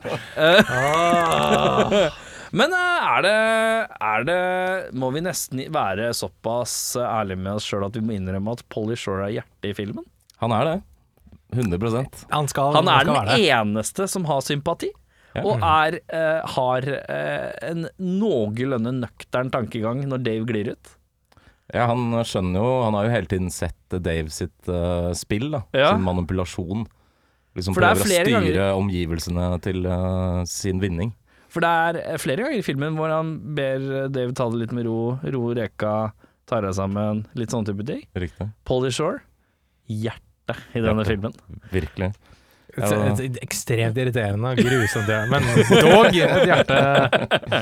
Speaker 1: Eh, Men eh, er det, er det Må vi nesten være eh, såpass ærlige med oss sjøl at vi må innrømme at Polly Shore er hjertet i filmen?
Speaker 3: Han er det. 100
Speaker 2: Han, skal,
Speaker 1: Han er
Speaker 2: skal
Speaker 1: den e-
Speaker 2: være det.
Speaker 1: eneste som har sympati,
Speaker 3: Ja.
Speaker 1: og er, eh, har eh, en noenlunde nøktern tankegang når Dave glir ut.
Speaker 3: Ja, han skjønner jo Han har jo hele tiden sett eh, Dave sitt eh, spill, da.
Speaker 1: Ja.
Speaker 3: Sin manipulasjon. Liksom
Speaker 1: For det er
Speaker 3: prøver å
Speaker 1: flere
Speaker 3: styre
Speaker 1: ganger-
Speaker 3: omgivelsene til eh, sin vinning.
Speaker 1: For det er eh, flere ganger i filmen hvor han ber eh, Dave ta det litt med ro, ro reka, ta deg sammen, litt sånn type ting.
Speaker 3: Riktig.
Speaker 1: Polly Shore, hjertet i denne
Speaker 3: Hjertet.
Speaker 1: filmen.
Speaker 3: Virkelig.
Speaker 2: Et- et- et Ekstremt irriterende og grusomt, ja. men dog et hjerte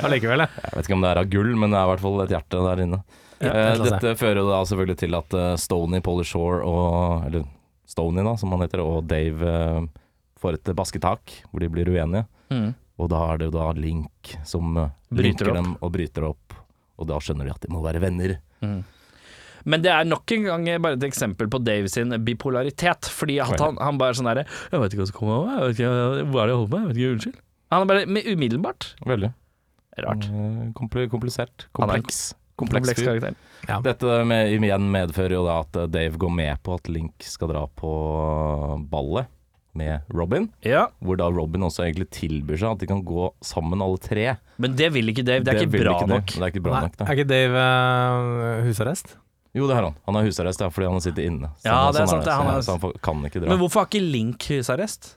Speaker 2: allikevel. ja.
Speaker 3: Jeg vet ikke om det er av gull, men det er i hvert fall et hjerte der inne.
Speaker 2: Ja,
Speaker 3: Eh,
Speaker 2: et eller annet.
Speaker 3: dette fører jo da selvfølgelig til at eh, Stoney, Polly Shore og Eller Stoney, da, som han heter, og Dave eh, får et basketak hvor de blir uenige.
Speaker 1: Mm.
Speaker 3: Og da er det jo da Link som eh,
Speaker 1: Bryter
Speaker 3: linker
Speaker 1: opp.
Speaker 3: dem og bryter opp. Og da skjønner de at de må være venner.
Speaker 1: Mm. Men det er nok en gang bare et eksempel på Dave sin bipolaritet. Fordi at han, han bare sånn herre Jeg vet ikke hva som kommer over meg, jeg vet ikke hva er det jeg holder på med, jeg vet ikke, unnskyld. Han er bare med umiddelbart.
Speaker 3: Veldig
Speaker 1: Rart.
Speaker 3: Eh, Kompli komplisert.
Speaker 1: Han er en
Speaker 3: Kompleks.
Speaker 1: Mm. Kompleks
Speaker 3: Kompleks fyr.
Speaker 1: karakter.
Speaker 3: Dette med, igjen medfører jo da at eh, Dave går med på at Link skal dra på eh, ballet med Robin.
Speaker 1: Ja,
Speaker 3: Hvor da Robin også egentlig tilbyr seg at de kan gå sammen alle tre.
Speaker 1: men det vil ikke Dave. Det er ikke
Speaker 3: vil
Speaker 1: bra
Speaker 3: Dave.
Speaker 1: nok.
Speaker 3: Det er ikke bra
Speaker 2: Nei,
Speaker 3: nok da.
Speaker 2: er ikke Dave eh, husarrest?
Speaker 3: Jo, det har han. Han har husarrest ja, fordi han har sittet inne. Så-
Speaker 1: Ja, det er
Speaker 3: sånn
Speaker 1: sant, det er
Speaker 3: Så
Speaker 1: han
Speaker 3: han,
Speaker 1: har-
Speaker 3: så han får, kan ikke dra.
Speaker 1: Men hvorfor har ikke Link husarrest?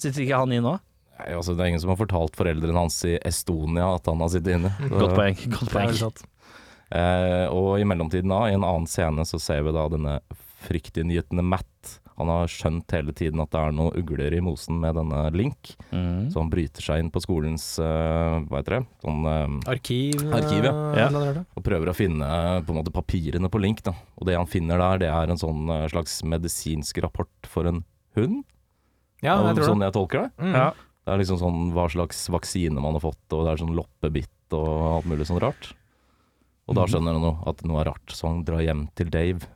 Speaker 1: Sitter ikke han i nå?
Speaker 3: Nei, altså, det er ingen som har fortalt foreldrene hans i Estonia at han har sittet inne. Så-
Speaker 1: Godt poeng. Godt
Speaker 2: Det er
Speaker 1: poeng.
Speaker 2: vel sant.
Speaker 3: Eh, og i mellomtiden da, i en annen scene så ser vi da denne fryktinngytende Matt. Han har skjønt hele tiden at det er noen ugler i mosen med denne Link,
Speaker 1: Mm.
Speaker 3: så han bryter seg inn på skolens eh, hva heter det, sånn, eh,
Speaker 2: Arkiv, eh,
Speaker 3: Arkiv, ja.
Speaker 1: Ja.
Speaker 2: eller noe.
Speaker 3: og prøver å finne eh, på en måte papirene på Link. da. Og det han finner der, det er en sånn eh, slags medisinsk rapport for en hund,
Speaker 2: ja, jeg tror det.
Speaker 3: sånn jeg tolker det.
Speaker 2: Mm.
Speaker 1: Ja.
Speaker 3: Det er liksom sånn hva slags vaksine man har fått, og det er sånn loppebitt og alt mulig sånn rart. Og
Speaker 2: Mhm.
Speaker 3: da skjønner han jo at noe er rart, så han drar hjem til Dave,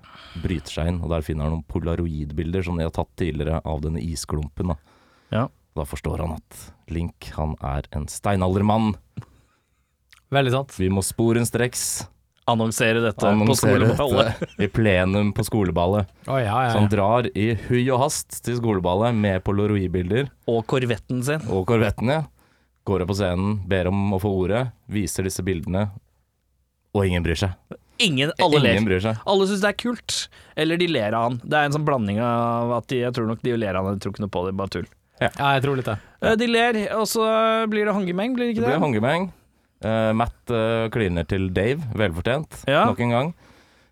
Speaker 3: bryter seg inn, og der finner han noen polaroidbilder som de har tatt tidligere av denne isklumpen. Da,
Speaker 1: Ja.
Speaker 3: da forstår han at Link, han er en steinaldermann.
Speaker 2: Veldig sant.
Speaker 3: Vi må sporenstreks
Speaker 1: Annonsere dette på
Speaker 3: annonsere
Speaker 1: skoleballet.
Speaker 3: dette i plenum på skoleballet.
Speaker 2: Å, ja, ja,
Speaker 3: Så han
Speaker 2: ja.
Speaker 3: drar i hui og hast til skoleballet med polaroidbilder.
Speaker 1: Og korvetten sin.
Speaker 3: og korvettene går opp på scenen, ber om å få ordet, viser disse bildene, og ingen bryr seg.
Speaker 1: Ingen, alle ler.
Speaker 3: ingen bryr seg.
Speaker 1: Alle syns det er kult, eller de ler av han. Det er en sånn blanding av at de, jeg tror nok de ler av han, jeg tror ikke noe på det, bare tull.
Speaker 2: ja, jeg tror litt det.
Speaker 1: Eh, De ler, og så blir det hongemeng, blir det
Speaker 3: Det
Speaker 1: ikke
Speaker 3: blir
Speaker 1: det?
Speaker 3: hongemeng. Eh, Matt eh, kliner til Dave, velfortjent,
Speaker 1: Ja.
Speaker 3: nok en gang.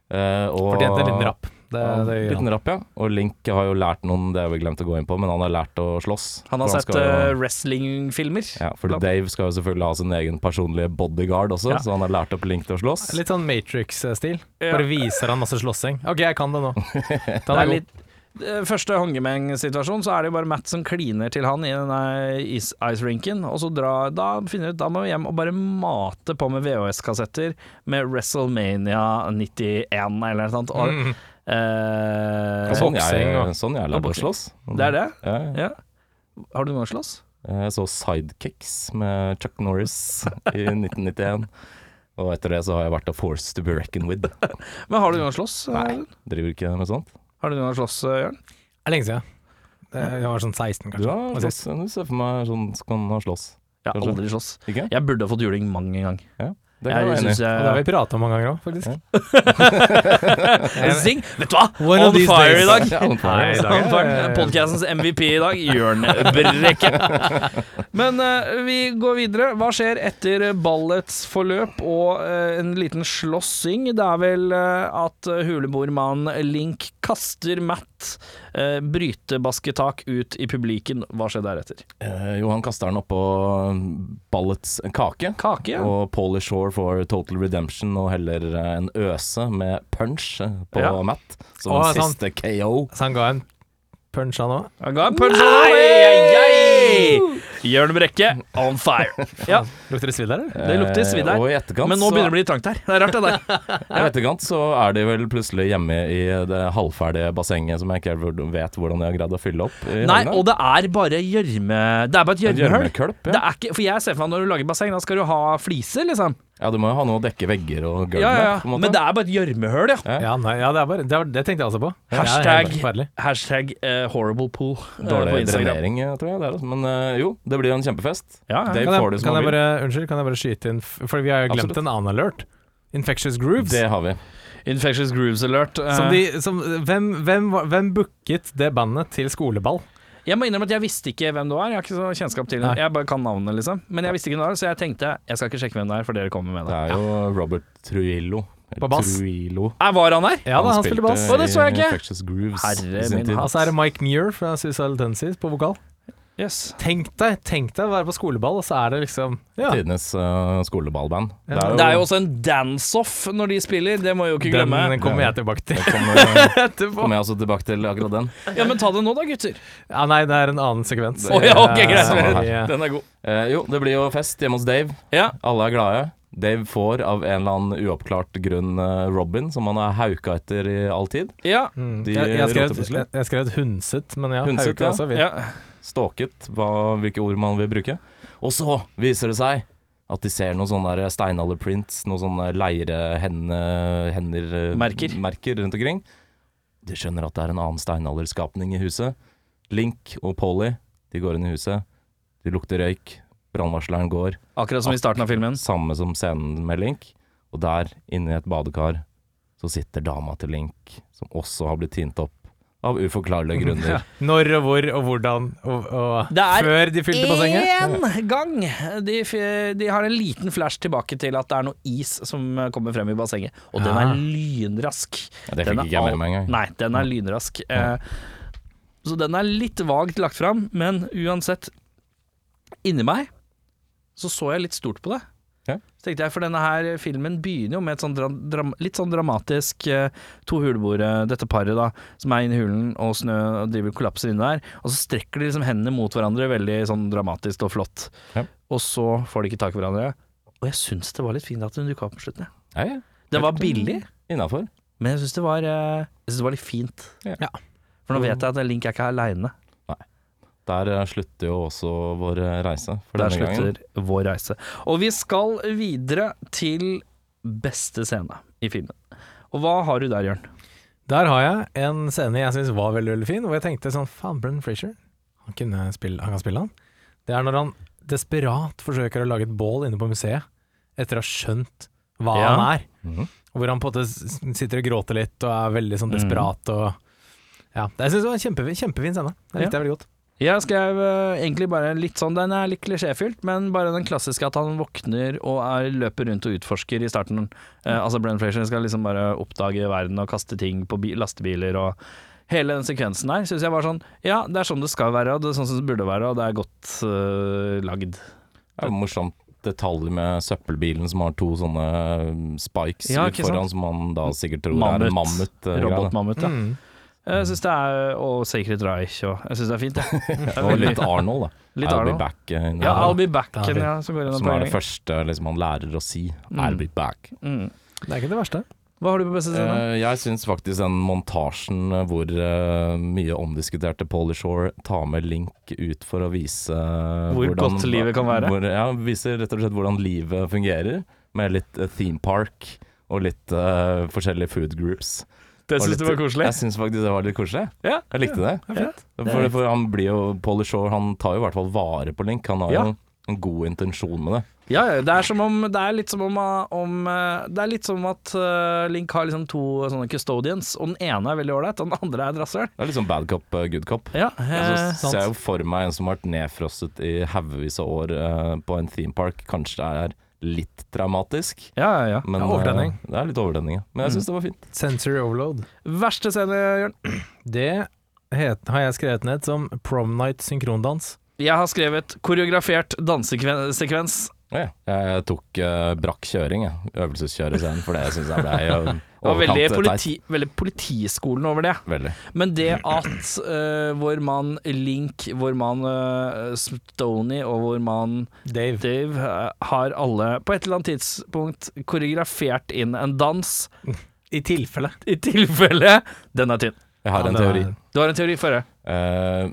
Speaker 3: Eh, og,
Speaker 2: Fortjente en liten rapp. Det,
Speaker 3: Ja,
Speaker 2: det, gjør
Speaker 3: liten
Speaker 2: han.
Speaker 3: rapp, ja. Og Link har jo lært noen, det har vi glemt å gå inn på, men han har lært å slåss.
Speaker 1: han har
Speaker 3: For
Speaker 1: sett
Speaker 3: skal
Speaker 1: eh,
Speaker 3: jo-
Speaker 1: wrestlingfilmer.
Speaker 3: ja, for Dave skal jo selvfølgelig ha sin egen personlige bodyguard også,
Speaker 1: Ja.
Speaker 3: så han har lært opp Link til å slåss.
Speaker 2: litt sånn Matrix-stil.
Speaker 1: Ja.
Speaker 2: Bare viser han masse slåssing. OK, jeg kan det nå.
Speaker 1: Det
Speaker 2: Den
Speaker 1: er
Speaker 2: er god.
Speaker 1: litt eh, Første hongemeng-situasjon, så er det jo bare Matt som kliner til han i denne is ice-rinken, og så drar Da finner jeg ut, da må vi hjem og bare mate på med VHS-kassetter med WrestleMania 91 eller noe sånt. Og,
Speaker 2: Mm.
Speaker 1: eh,
Speaker 3: Og sånn,
Speaker 2: boksing og-
Speaker 3: jeg, sånn jeg lærte å
Speaker 1: boksing.
Speaker 3: slåss.
Speaker 1: det er det?
Speaker 3: Ja, ja.
Speaker 1: Ja. Har du noe å slåss?
Speaker 3: Jeg så Sidekicks med Chuck Norris i 1991. Og etter det så har jeg vært a force to be reckoned with.
Speaker 1: Men har du noen å slåss?
Speaker 3: Nei.
Speaker 1: Jørgen?
Speaker 3: Driver ikke med sånt?
Speaker 1: Har du noen å slåss, eh, Jørn?
Speaker 2: Det er lenge siden. Det jeg var sånn 16,
Speaker 3: Du
Speaker 2: kanskje.
Speaker 3: har slåss. Du ser for meg sånn kan ha slåss.
Speaker 1: Jeg har
Speaker 3: Kanskje.
Speaker 1: aldri slåss.
Speaker 3: Ikke?
Speaker 1: Jeg burde ha fått juling mang en gang.
Speaker 3: Det kan jeg
Speaker 1: Jeg
Speaker 3: være enig
Speaker 1: synes
Speaker 3: i.
Speaker 2: Og det har
Speaker 1: jeg
Speaker 2: vi prata om mange ganger òg, faktisk.
Speaker 1: Zing! Vet du hva?
Speaker 2: One of
Speaker 1: On
Speaker 2: these
Speaker 1: fire
Speaker 2: days.
Speaker 1: i dag!
Speaker 3: Ja, on fire.
Speaker 2: Nei, i dag er-
Speaker 1: Podkastens MVP i dag, Jørn Brekke. Men eh, vi går videre. Hva skjer etter ballets forløp og eh, en liten slåssing? Det er vel eh, at huleboermann Link kaster Matt uh, brytebasketak ut i publiken. Hva skjer deretter?
Speaker 3: Eh, jo, han kaster den oppå ballets kake.
Speaker 1: Kake? ja.
Speaker 3: Og Paulie Shore får total redemption og heller eh, en øse med punch eh, på
Speaker 1: Ja.
Speaker 3: Matt. Som
Speaker 2: Å,
Speaker 3: en
Speaker 2: sant.
Speaker 3: siste KO.
Speaker 2: Så han ga en punch, han òg.
Speaker 1: Han ga en punch. Nei! Jørn Brekke, on fire. Ja,
Speaker 2: Lukter det svidd her, eller?
Speaker 1: det lukter svidd her.
Speaker 3: Eh, Og i etterkant,
Speaker 1: Men nå
Speaker 3: så,
Speaker 1: begynner det å bli trangt her. Det er rart, det der.
Speaker 3: i etterkant så er de vel plutselig hjemme i det halvferdige bassenget som jeg ikke helt vet hvordan de har greid å fylle opp. i
Speaker 1: Nei,
Speaker 3: Ragnar.
Speaker 1: og det er bare gjørme... Det er bare et
Speaker 3: Et
Speaker 1: gjørmehull.
Speaker 3: gjørmekølp,
Speaker 1: Det
Speaker 3: ja.
Speaker 1: er ikke, for jeg ser for meg når du lager basseng, da skal du ha fliser, liksom.
Speaker 3: ja. Du må jo ha noe å dekke vegger og gulv
Speaker 1: Ja, ja,
Speaker 3: med, på
Speaker 1: ja.
Speaker 3: en måte.
Speaker 1: Men det er bare et gjørmehull, ja.
Speaker 3: Ja.
Speaker 2: Ja, nei, ja det, er bare, det, var, det tenkte jeg også på. Det er
Speaker 1: Hashtag-
Speaker 2: helt forferdelig.
Speaker 1: Hashtag eh, horrible pool eh, på
Speaker 3: Dårlig
Speaker 1: Instagram.
Speaker 3: drenering, eh, tror jeg. Det er, altså. men eh, jo, det blir jo en kjempefest.
Speaker 1: Ja, ja.
Speaker 3: Dave
Speaker 2: Kan
Speaker 3: får
Speaker 2: jeg,
Speaker 3: det som
Speaker 2: kan jeg
Speaker 3: han vil.
Speaker 2: bare, unnskyld, kan jeg bare skyte inn, f- for vi har jo glemt
Speaker 3: Absolutt.
Speaker 2: en annen alert. Infectious Grooves.
Speaker 3: Det har vi.
Speaker 1: Infectious Grooves Alert. eh,
Speaker 2: Som de, som, hvem, hvem, var- hvem booket det bandet til skoleball?
Speaker 1: Jeg må innrømme at jeg visste ikke hvem du er. Jeg har ikke så kjennskap til
Speaker 2: Nei.
Speaker 1: det. Jeg bare kan navnet, liksom. Men jeg visste ikke hvem du er, så jeg tenkte jeg skal ikke sjekke hvem det er, for dere kommer med
Speaker 3: Det
Speaker 1: det.
Speaker 3: er jo Robert Trujillo.
Speaker 2: På bass.
Speaker 3: Trujillo.
Speaker 1: Er var han her?
Speaker 2: Ja da, han spiller bass.
Speaker 1: Å, det så jeg
Speaker 3: i
Speaker 1: ikke.
Speaker 3: Infectious Grooves
Speaker 1: Herre
Speaker 3: i sin
Speaker 1: min
Speaker 3: tid.
Speaker 1: hatt.
Speaker 2: Og så er det Mike Muir fra Suicidal Tendencies på vokal.
Speaker 1: Yes.
Speaker 2: Tenk deg tenk deg å være på skoleball, og så er det liksom ja,
Speaker 3: Tidenes eh, skoleballband.
Speaker 2: Ja.
Speaker 1: Det er jo også en dance-off når de spiller, det må jeg jo ikke
Speaker 2: den,
Speaker 1: glemme.
Speaker 2: den kommer jeg tilbake til.
Speaker 3: Kommer,
Speaker 2: Etterpå.
Speaker 3: kommer jeg også tilbake til akkurat den.
Speaker 1: Ja, men ta det nå da, gutter.
Speaker 2: Ja, nei, det er en annen sekvens.
Speaker 1: Å ja, ok, greit.
Speaker 2: Samme her.
Speaker 1: Den er god.
Speaker 3: Eh, jo, det blir jo fest hjemme hos Dave.
Speaker 1: Ja.
Speaker 3: Alle er glade. Dave får av en eller annen uoppklart grunn eh, Robin, som han har hauka etter i all tid.
Speaker 1: Ja.
Speaker 2: Mm.
Speaker 3: De
Speaker 2: Jeg, jeg, skrev,
Speaker 3: roter plutselig.
Speaker 2: jeg, jeg skrev et hundset, men ja.
Speaker 3: Hundset,
Speaker 2: Hauke
Speaker 3: ja.
Speaker 2: også, vi-
Speaker 1: ja.
Speaker 3: Stalket, hva, hvilke ord man vil bruke. Og så viser det seg at de ser noen sånne der steinalderprints, noen sånne leirehender
Speaker 1: Merker.
Speaker 3: merker rundt omkring. De skjønner at det er en annen steinalderskapning i huset. Link og Polly de går inn i huset. De lukter røyk. Brannvarsleren går.
Speaker 1: Akkurat som i starten av filmen.
Speaker 3: Samme som scenen med Link. Og der, inne i et badekar, så sitter dama til Link, som også har blitt tint opp av uforklarlige grunner.
Speaker 2: Når og hvor og hvordan og, og
Speaker 1: Det er
Speaker 2: før de fylte bassenget.
Speaker 1: Én gang! De, f- de har en liten flash tilbake til at det er noe is som kommer frem i bassenget, og den
Speaker 2: Ah.
Speaker 1: er lynrask.
Speaker 3: Ja, det
Speaker 1: Den
Speaker 3: fikk
Speaker 1: er
Speaker 3: ikke jeg
Speaker 1: all-
Speaker 3: med meg engang.
Speaker 1: Nei, den er lynrask. Eh, så den er litt vagt lagt fram, men uansett Inni meg så så jeg litt stort på det.
Speaker 3: Ja.
Speaker 1: Så tenkte jeg, For denne her filmen begynner jo med et sånn dra dram litt sånn dramatisk eh, to huleboere, dette paret da, som er inne i hulen og snø og driver og kollapser inne der. Og så strekker de liksom hendene mot hverandre veldig sånn dramatisk og flott.
Speaker 3: Ja.
Speaker 1: Og så får de ikke tak i hverandre. Og jeg syns det var litt fint at hun dukka opp på slutten. jeg.
Speaker 3: Ja, ja.
Speaker 1: Det var billig.
Speaker 3: Innafor.
Speaker 1: Men jeg syns det, var, eh, jeg synes det var litt fint.
Speaker 3: Ja.
Speaker 2: Ja.
Speaker 1: For nå vet jeg at Link er ikke aleine.
Speaker 3: Der eh, slutter jo også vår eh, reise for
Speaker 1: Der
Speaker 3: denne gangen.
Speaker 1: slutter vår reise. Og vi skal videre til beste scene i filmen. Og hva har du der, Jørn?
Speaker 2: Der har jeg en scene jeg syns var veldig, veldig fin, hvor jeg tenkte sånn Faen, Brennan Frazier, han, kunne spille, han kan spille han. Det er når han desperat forsøker å lage et bål inne på museet, etter å ha skjønt hva
Speaker 1: Ja.
Speaker 2: han er.
Speaker 3: Mhm.
Speaker 2: Og Hvor han på en måte s- sitter og gråter litt, og er veldig sånn desperat og Ja. Jeg syns det var en kjempefin, kjempefin scene. Det likte jeg veldig godt.
Speaker 1: Jeg skrev eh, egentlig bare litt sånn, den er litt klisjéfylt, men bare den klassiske at han våkner og er, løper rundt og utforsker i starten. Eh,
Speaker 3: Mm.
Speaker 1: altså Brenn Frazier skal liksom bare oppdage verden og kaste ting på bi lastebiler og Hele den sekvensen der syns jeg var sånn Ja, det er sånn det skal være, og det er sånn som det burde være, og det er godt eh, lagd.
Speaker 3: Det er jo morsomt detalj med søppelbilen som har to sånne eh, spikes
Speaker 1: Ja,
Speaker 3: ut
Speaker 1: ikke sant?
Speaker 3: foran, som man da sikkert tror er en
Speaker 1: Mammut.
Speaker 3: mammut. eh, greie, da.
Speaker 1: Robotmammut, ja.
Speaker 2: Mm.
Speaker 1: Jeg syns det er Og Sacred Reich og Jeg syns det er fint, jeg. Det er
Speaker 3: Og
Speaker 1: veldig-
Speaker 3: litt Arnold, da.
Speaker 1: Litt
Speaker 3: I'll
Speaker 1: Arnold.
Speaker 3: be back. eh, in
Speaker 1: Ja,
Speaker 3: the-
Speaker 1: I'll be back,
Speaker 2: Det er
Speaker 1: ja, som går inn
Speaker 3: som er det første liksom, han lærer å si. I'll be back.
Speaker 1: Mm.
Speaker 2: Det er ikke det verste.
Speaker 1: Hva har du på beste scene?
Speaker 3: Eh, jeg syns faktisk den montasjen hvor eh, mye omdiskuterte Polly Shore tar med Link ut for å vise eh,
Speaker 1: Hvor godt livet kan være.
Speaker 3: Hvor, ja, viser rett og slett hvordan livet fungerer, med litt eh, theme park og litt eh, forskjellige food groups.
Speaker 1: det
Speaker 3: Og
Speaker 1: syns du
Speaker 3: litt-
Speaker 1: var koselig?
Speaker 3: Jeg syns faktisk det var litt koselig.
Speaker 1: Ja.
Speaker 3: Jeg likte det.
Speaker 1: Ja.
Speaker 3: For, for han blir jo Polly Shore han tar jo i hvert fall vare på Link. Han har
Speaker 1: Ja.
Speaker 3: jo en god intensjon med det.
Speaker 1: Ja, ja, det er som om Det er litt som om, eh, om eh, Det er litt som at eh, Link har liksom to sånne custodians, og den ene er veldig ålreit, og den andre er et rasshøl.
Speaker 3: Det er liksom bad cop, eh, good cop.
Speaker 1: Ja, eh,
Speaker 3: Så ser jeg jo for meg en som har vært nedfrosset i haugevis av år eh, på en theme park. Kanskje det er litt traumatisk.
Speaker 1: ja, ja, ja.
Speaker 3: Men,
Speaker 2: Ja, overtenning.
Speaker 3: eh, det er litt overtenning, ja. Men jeg syns det var fint.
Speaker 2: Sensory overload.
Speaker 1: Verste scene, Jørn?
Speaker 2: Det het, har jeg skrevet ned som prom night synkrondans.
Speaker 1: Jeg har skrevet koreografert dansesekvens
Speaker 3: Ja, jeg tok eh, brakk kjøring, jeg. Øvelseskjørescenen, for det syns jeg ble uh,
Speaker 1: Det var veldig, politi, veldig politiskolen over det.
Speaker 3: Veldig.
Speaker 1: Men det at eh, vår mann Link, vår mann eh, Stoney og vår mann
Speaker 2: Dave.
Speaker 1: Dave eh, har alle på et eller annet tidspunkt koreografert inn en dans,
Speaker 2: I tilfelle.
Speaker 1: i tilfelle den er tynn.
Speaker 3: Jeg
Speaker 2: Ja,
Speaker 3: har en
Speaker 2: det var-
Speaker 3: teori.
Speaker 1: Du har en teori for det?
Speaker 3: Eh,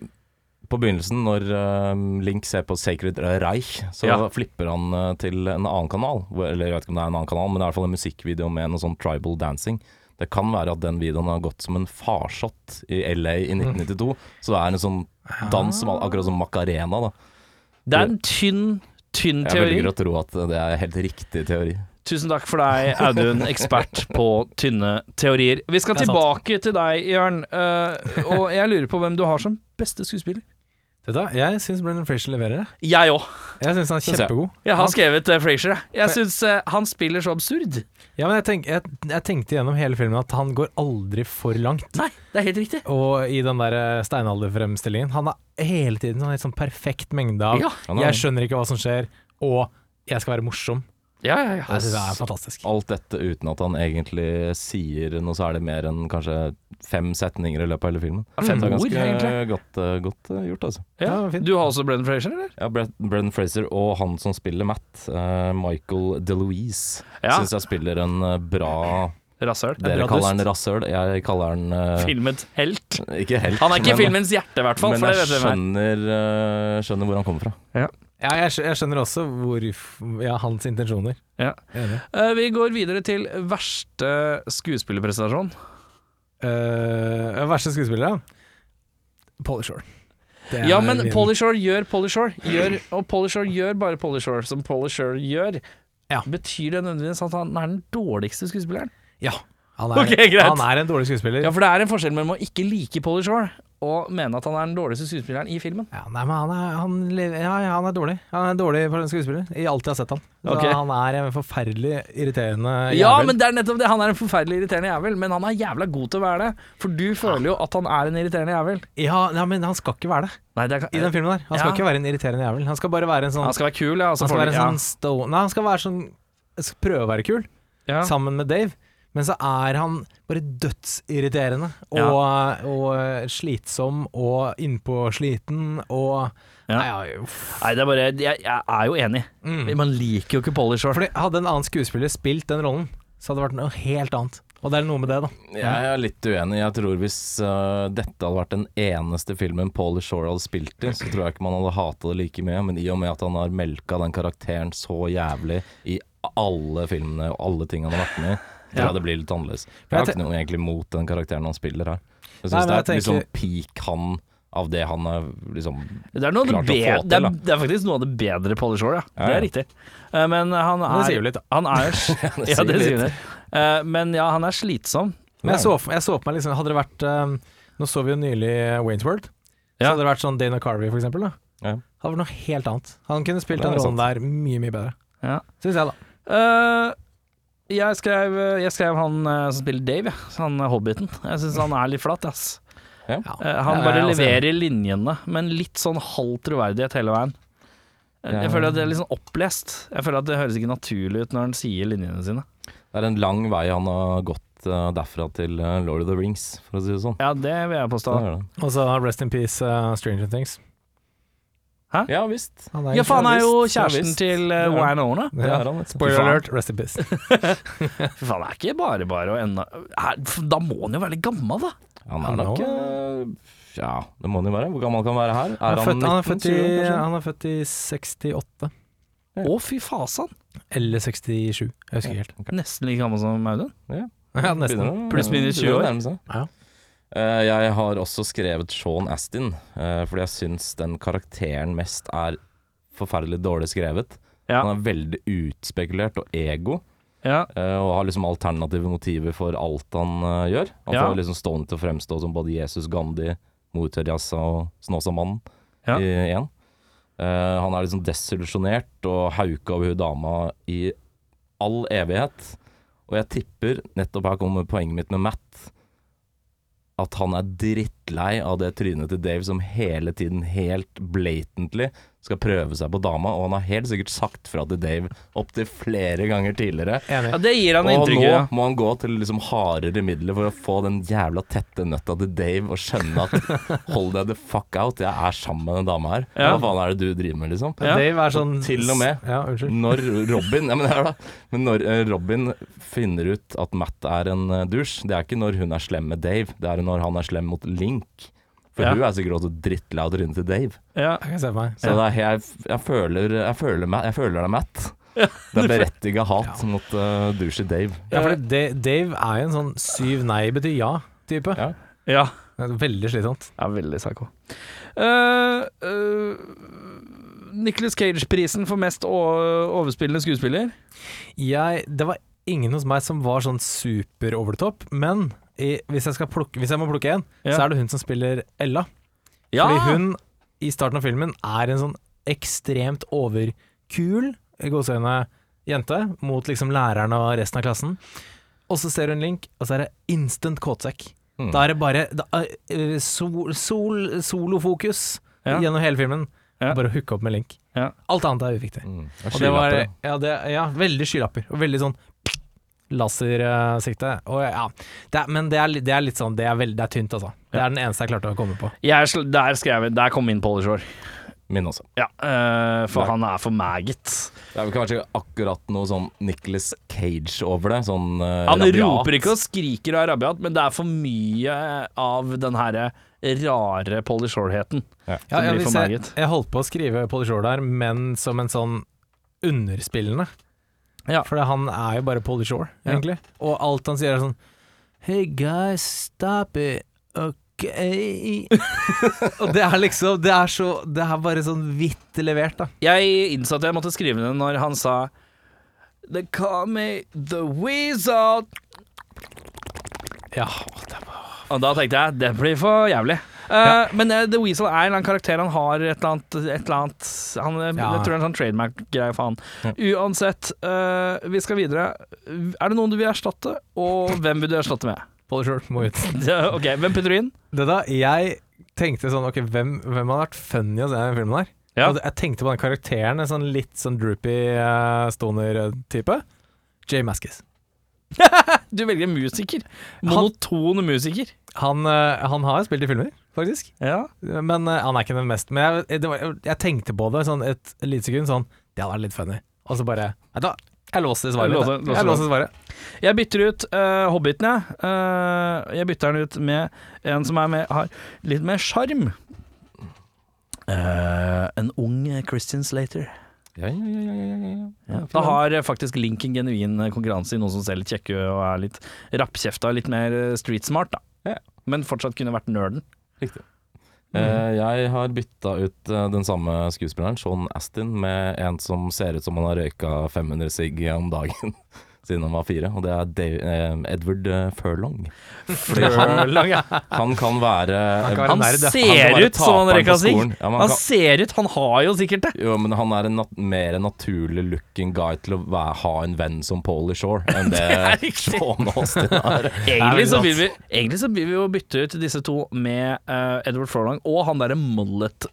Speaker 3: på begynnelsen, når eh, Link ser på Sacred Reich, så
Speaker 1: Ja.
Speaker 3: flipper han eh, til en annen kanal. Hvor- Eller jeg vet ikke om det er en annen kanal, men det er i hvert fall en musikkvideo med noe sånn tribal dancing. Det kan være at den videoen har gått som en farsott i LA i
Speaker 1: Mm.
Speaker 3: 1992. Så det er en sånn dans som er akkurat som Macarena, da.
Speaker 1: Det er en tynn, tynn
Speaker 3: Jeg
Speaker 1: teori.
Speaker 3: velger å tro at det er helt riktig teori.
Speaker 1: Tusen takk for deg, Audun, ekspert på tynne teorier. Vi skal
Speaker 2: Det er sant.
Speaker 1: tilbake til deg, Jørn, eh, og jeg lurer på hvem du har som beste skuespiller.
Speaker 2: Vet du hva, jeg syns Brendan Frazier leverer. jeg.
Speaker 1: Jeg òg.
Speaker 2: Jeg syns han er
Speaker 3: Synes jeg.
Speaker 2: kjempegod.
Speaker 1: Jeg har
Speaker 2: Han-
Speaker 1: skrevet uh, Frazier, jeg. Jeg syns han spiller så absurd.
Speaker 2: Ja, men jeg, tenk, jeg, jeg tenkte gjennom hele filmen at han går aldri for langt.
Speaker 1: Nei, det er helt riktig.
Speaker 2: Og i den der eh, steinalderfremstillingen Han er hele tiden en helt sånn perfekt mengde av
Speaker 1: Ja.
Speaker 3: Han er-
Speaker 2: Jeg skjønner ikke hva som skjer, og jeg skal være morsom.
Speaker 1: Ja, ja, ja.
Speaker 2: Jeg synes det er fantastisk.
Speaker 3: Alt dette uten at han egentlig sier noe særlig mer enn kanskje fem setninger i løpet av hele filmen.
Speaker 1: Fem
Speaker 3: Det er
Speaker 1: ord, egentlig.
Speaker 3: ganske godt, eh, godt eh, gjort, altså.
Speaker 1: Ja.
Speaker 2: Ja, fint.
Speaker 1: Du har også Brendan Frazier, eller?
Speaker 3: Ja, Brett- Brendan Fraser og han som spiller Matt, eh, Michael DeLuise,
Speaker 1: Ja.
Speaker 3: syns jeg spiller en eh, bra
Speaker 1: Rasshøl.
Speaker 3: Dere
Speaker 2: bra
Speaker 3: kaller han rasshøl, jeg kaller han eh,
Speaker 1: Filmet helt.
Speaker 3: Ikke helt,
Speaker 1: Han er ikke
Speaker 3: men-
Speaker 1: filmens hjerte, i hvert fall.
Speaker 3: Men
Speaker 1: For det
Speaker 3: jeg
Speaker 1: vet vi hvem er.
Speaker 3: skjønner, eh, skjønner hvor han kommer fra.
Speaker 2: Ja, jeg, skj- jeg skjønner også hvor Ja, hans intensjoner.
Speaker 1: Ja.
Speaker 2: Enig.
Speaker 1: Eh, Vi går videre til verste skuespillerprestasjon.
Speaker 2: Eh, verste skuespiller, da? Polly Shore. Det er
Speaker 1: Ja, men
Speaker 2: min-
Speaker 1: Polishore gjør Polishore, gjør, og Polishore gjør bare Polishore som Polishore gjør.
Speaker 2: Ja.
Speaker 1: Betyr det nødvendigvis at han er den dårligste skuespilleren?
Speaker 2: Ja. Han er,
Speaker 1: Ok, greit.
Speaker 2: han er en dårlig skuespiller.
Speaker 1: Ja,
Speaker 2: Ja,
Speaker 1: for det er en forskjell mellom å ikke like Polishore og mene at han er den dårligste skuespilleren i filmen.
Speaker 2: nei, men han er, han, lever- ja, ja, han er dårlig. Han er en dårlig for en skuespiller. I alt jeg har sett han. Så
Speaker 1: Ok.
Speaker 2: Han er en forferdelig irriterende
Speaker 1: Ja,
Speaker 2: jævel.
Speaker 1: men det er nettopp det. Han er en forferdelig irriterende jævel, men han er jævla god til å være det. For du føler jo at han er en irriterende jævel.
Speaker 2: Ja, ja, men han skal ikke være det
Speaker 1: Nei, det er,
Speaker 2: i den filmen der. Han skal
Speaker 1: Ja.
Speaker 2: ikke være en irriterende jævel. Han skal bare være en sånn
Speaker 1: Han skal være kul, ja. og så
Speaker 2: han skal
Speaker 1: får
Speaker 2: være en
Speaker 1: du- ja.
Speaker 2: sånn stone Nei, han skal være sånn skal Prøve å være kul
Speaker 1: Ja.
Speaker 2: sammen med Dave. Men så er han bare dødsirriterende og, og eh, slitsom og innpåsliten og
Speaker 1: Ja.
Speaker 2: Nei, ja, uff.
Speaker 1: Nei, det er bare Jeg, jeg er jo enig.
Speaker 2: Mm.
Speaker 1: Man liker jo ikke Polishore.
Speaker 2: Fordi hadde en annen skuespiller spilt den rollen, så hadde det vært noe helt annet. Og det er noe med det, da.
Speaker 3: Jeg er litt uenig. Jeg tror hvis eh, dette hadde vært den eneste filmen Paul Shore hadde spilt i, så tror jeg ikke man hadde hata det like mye. Men i og med at han har melka den karakteren så jævlig i alle filmene og alle ting han har vært med i, tror
Speaker 1: Ja.
Speaker 3: jeg det blir litt annerledes. For jeg har
Speaker 2: Jeg
Speaker 3: ikke noe egentlig mot den karakteren han spiller her.
Speaker 2: Nei,
Speaker 3: Jeg syns det
Speaker 2: men
Speaker 3: er
Speaker 2: jeg
Speaker 3: liksom
Speaker 2: tenker-
Speaker 3: peak han av det han er liksom
Speaker 1: Det er, noe av det,
Speaker 3: klart å
Speaker 1: be-
Speaker 3: få til,
Speaker 1: det, er,
Speaker 3: da.
Speaker 1: det er faktisk noe av det bedre Polishore, ja.
Speaker 3: Ja,
Speaker 1: Det
Speaker 3: ja.
Speaker 1: er riktig. Eh, Men han er
Speaker 2: Men det sier jo litt, da.
Speaker 1: Han er Ja, det sier det. Eh, Men ja, han er slitsom.
Speaker 2: Men jeg så, for- jeg så på meg liksom Hadde det vært eh, Nå så vi jo nylig Wayne's World. Så
Speaker 1: Ja.
Speaker 2: hadde det vært sånn Dana Carvey, for eksempel. Da.
Speaker 3: Ja.
Speaker 2: Det hadde vært noe helt annet. Han kunne spilt
Speaker 3: Det er
Speaker 2: den rollen der mye, mye bedre.
Speaker 1: Ja.
Speaker 2: Syns jeg, da.
Speaker 1: Eh, Jeg skrev, jeg skrev han eh, som spiller Dave, ja. han eh, hobbiten. Jeg syns han er litt flat, ass. Eh, Han bare
Speaker 2: Ja, altså, jeg
Speaker 3: altså.
Speaker 2: er også enig.
Speaker 1: leverer linjene, men litt sånn halv troverdighet hele veien. Eh,
Speaker 3: Ja.
Speaker 1: Jeg føler at det er litt sånn opplest. Jeg føler at det høres ikke naturlig ut når han sier linjene sine.
Speaker 3: Det er en lang vei han har gått eh, derfra til eh, Lord of the Rings, for å si det sånn.
Speaker 1: Ja, det vil jeg påstå.
Speaker 3: Det er det.
Speaker 2: Og så Rest in Peace, eh, Stranger Things.
Speaker 3: Ja visst.
Speaker 2: Han er
Speaker 1: Ja, for han er jo
Speaker 3: Ja, visst.
Speaker 1: kjæresten til eh,
Speaker 3: Ja.
Speaker 1: Winona.
Speaker 3: Det er han, vet du.
Speaker 2: Spoiler
Speaker 1: Fy faen.
Speaker 2: alert, rest in peace.
Speaker 1: Fy faen, det er ikke bare bare å ende Her- Da må han jo være litt gammel, da.
Speaker 3: Han er
Speaker 2: Han
Speaker 3: nok
Speaker 2: nå-
Speaker 3: eh, Ja, det må han jo være. Hvor gammel kan han være her?
Speaker 2: Han
Speaker 3: Er
Speaker 2: er,
Speaker 3: han
Speaker 2: født,
Speaker 3: 19?
Speaker 2: han, er født i,
Speaker 3: 20, kanskje?
Speaker 2: han er født i 68.
Speaker 1: Å, fy fasan.
Speaker 2: Eller 67, jeg husker ikke helt.
Speaker 1: Nesten like gammel som Audun.
Speaker 2: Ja, nesten.
Speaker 3: Begynner å-
Speaker 1: Pluss minus
Speaker 3: begynner
Speaker 1: 20
Speaker 3: å
Speaker 1: år.
Speaker 3: nærme seg.
Speaker 2: Ja.
Speaker 3: Eh, jeg har også skrevet Sean Astin, eh, fordi jeg syns den karakteren mest er forferdelig dårlig skrevet.
Speaker 1: Ja.
Speaker 3: Han er veldig utspekulert og ego,
Speaker 1: Ja.
Speaker 3: eh, og har liksom alternative motiver for alt han eh, gjør. Han
Speaker 1: Ja.
Speaker 3: får liksom Stone til å fremstå som både Jesus Gandhi, Mor Terjassa og Snåsamannen
Speaker 1: Ja.
Speaker 3: i én. Eh, han er liksom desillusjonert og hauka over hun dama i all evighet. Og jeg tipper, nettopp her kommer poenget mitt med Matt, at han er drittlei drittlei av det trynet til Dave som hele tiden, helt blatantly, skal prøve seg på dama, og han har helt sikkert sagt fra til Dave opptil flere ganger tidligere.
Speaker 1: Ja,
Speaker 2: Enig.
Speaker 1: det gir han
Speaker 3: Og
Speaker 1: inntrykk
Speaker 3: nå
Speaker 1: av.
Speaker 3: må han gå til liksom hardere midler for å få den jævla tette nøtta til Dave og skjønne at hold deg the fuck out, jeg er sammen med den dama her.
Speaker 1: Ja.
Speaker 3: Hva faen er det du driver med, liksom?
Speaker 1: Ja.
Speaker 2: Dave er sånn
Speaker 3: Til og med.
Speaker 2: Ja, unnskyld.
Speaker 3: Når Robin Ja, men hør da. Men når eh, Robin finner ut at Matt er en eh, douche, det er ikke når hun er slem med Dave, det er når han er slem mot Link. For
Speaker 1: Ja.
Speaker 3: hun er sikkert også drittlei av trynet til Dave.
Speaker 1: Ja.
Speaker 2: Jeg kan se for meg.
Speaker 3: Så det er, jeg, jeg, føler, jeg, føler, Ma- jeg føler deg, Matt.
Speaker 1: Ja.
Speaker 3: Det er berettiga hat mot uh, douche Dave.
Speaker 2: Ja, for det, Dave er jo en sånn syv nei betyr ja-type.
Speaker 3: Ja.
Speaker 1: ja.
Speaker 2: Veldig slitsomt.
Speaker 1: Ja, veldig psycho. Uh, Nicholas Cage-prisen for mest å- overspillende skuespiller.
Speaker 2: Jeg, det var ingen hos meg som var sånn super over the top, men i, hvis, jeg skal plukke, hvis jeg må plukke en,
Speaker 1: Ja.
Speaker 2: så er det hun som spiller Ella.
Speaker 1: Ja!
Speaker 2: Fordi hun i starten av filmen er en sånn ekstremt overkul i gåseøynene jente mot liksom læreren og resten av klassen. Og så ser hun Link, og så er det instant kåtsekk.
Speaker 1: Hmm.
Speaker 3: Mm.
Speaker 2: Da er det bare da, er- eh, sol, sol, solofokus
Speaker 1: Ja.
Speaker 2: gjennom hele filmen.
Speaker 1: Ja. Hmm.
Speaker 2: Bare å hooke opp med Link.
Speaker 1: Ja.
Speaker 2: Alt annet er uviktig.
Speaker 3: Mm.
Speaker 2: Og det var, ja, det, ja, veldig skylapper. Og veldig sånn lasersikte. Og ja, det er, men det er, litt- det er litt sånn Det er, veldig, det er tynt, altså. Det er den eneste jeg klarte å komme på.
Speaker 1: Jeg, er sl- der, skrev, jeg- der kom min Polishore.
Speaker 3: Min også.
Speaker 1: Ja, eh, for
Speaker 3: Der.
Speaker 1: han er for maggot.
Speaker 3: Det er vel kanskje akkurat noe sånn Nicholas Cage over det. Sånn eh,
Speaker 1: Han
Speaker 3: rabiat.
Speaker 1: roper ikke og skriker og er rabiat, men det er for mye av den herre rare Polishore-heten.
Speaker 2: Ja,
Speaker 1: Det
Speaker 2: ja,
Speaker 1: blir
Speaker 2: hvis
Speaker 1: for
Speaker 2: jeg,
Speaker 1: meget.
Speaker 2: jeg holdt på å skrive Polly Shore der, men som en sånn underspillende.
Speaker 1: Ja.
Speaker 2: For han er jo bare Polly Shore,
Speaker 1: Ja.
Speaker 2: egentlig. Og alt han sier er sånn Hey guys, stop it. Ok Og det er liksom Det er så Det er bare sånn vidt levert, da.
Speaker 1: Jeg innså at jeg måtte skrive det når han sa They call me the wizard.
Speaker 2: Ja,
Speaker 1: Og da tenkte jeg det blir for jævlig. Eh, Men eh, The Weasel er en eller annen karakter han har et eller annet, et eller annet han, eh,
Speaker 2: Ja.
Speaker 1: Jeg tror det er en sånn trademark-greie for han. Uansett, eh, vi skal videre. Er det noen du vil erstatte, og hvem vil du erstatte med?
Speaker 2: Polly Shore må ut.
Speaker 1: Ja, ok, Hvem putter du inn?
Speaker 2: Det da, jeg tenkte sånn Ok, hvem, hvem har vært funny å se i denne filmen her?
Speaker 1: Ja.
Speaker 2: Og Jeg tenkte på den karakteren, en sånn litt sånn droopy eh, stoner-type. Jay Maskis.
Speaker 1: Du velger en musiker.
Speaker 2: Han-
Speaker 1: Monoton musiker.
Speaker 2: Han, eh, han har spilt i filmer, faktisk.
Speaker 1: Ja.
Speaker 2: Men eh, han er ikke den mest Men jeg, det var, jeg tenkte på det sånn et lite sekund, sånn Det hadde vært litt funny. Og så bare Nei da, jeg låser svaret.
Speaker 1: Jeg
Speaker 2: mitt,
Speaker 1: låser-
Speaker 2: jeg.
Speaker 1: låser
Speaker 2: jeg låser svaret.
Speaker 1: Jeg bytter ut eh, Hobbiten, jeg. Eh, jeg bytter den ut med en som er med, har litt mer sjarm. Eh, en ung Christian Slater.
Speaker 3: Ja, ja, ja, ja, ja, ja, ja.
Speaker 1: Da har eh, faktisk Link en genuin eh, konkurranse i noen som ser litt kjekke og er litt rappkjefta, litt mer eh, street smart, da.
Speaker 3: Ja.
Speaker 1: Men fortsatt kunne vært nerden.
Speaker 3: Eh, jeg har bytta ut eh, den samme skuespilleren, Sean Astin, med en som ser ut som han har røyka 500 sigg om dagen siden han var fire, og det er Dave, eh, Edward eh, Furlong. Fordi han,
Speaker 2: Lang, ja.
Speaker 3: han kan være
Speaker 2: Han kan være
Speaker 1: Han
Speaker 2: nerd, ja.
Speaker 3: Han kan
Speaker 1: ser
Speaker 3: være
Speaker 1: ut som han
Speaker 3: taperen
Speaker 1: røyka
Speaker 3: på
Speaker 1: sigg!
Speaker 3: skolen. Ja, men han
Speaker 1: Han
Speaker 3: kan-
Speaker 1: ser ut, han har jo sikkert det.
Speaker 3: Jo, men han er en nat mer naturlig looking guy til å væ- ha en venn som Pauly Shore enn det,
Speaker 1: er
Speaker 3: det
Speaker 1: riktig.
Speaker 3: Sean Austin er.
Speaker 1: Egentlig
Speaker 2: veldig
Speaker 1: så,
Speaker 2: sant.
Speaker 1: vil vi, egentlig så vil vi jo bytte ut disse to med eh, Edward Furlong og han derre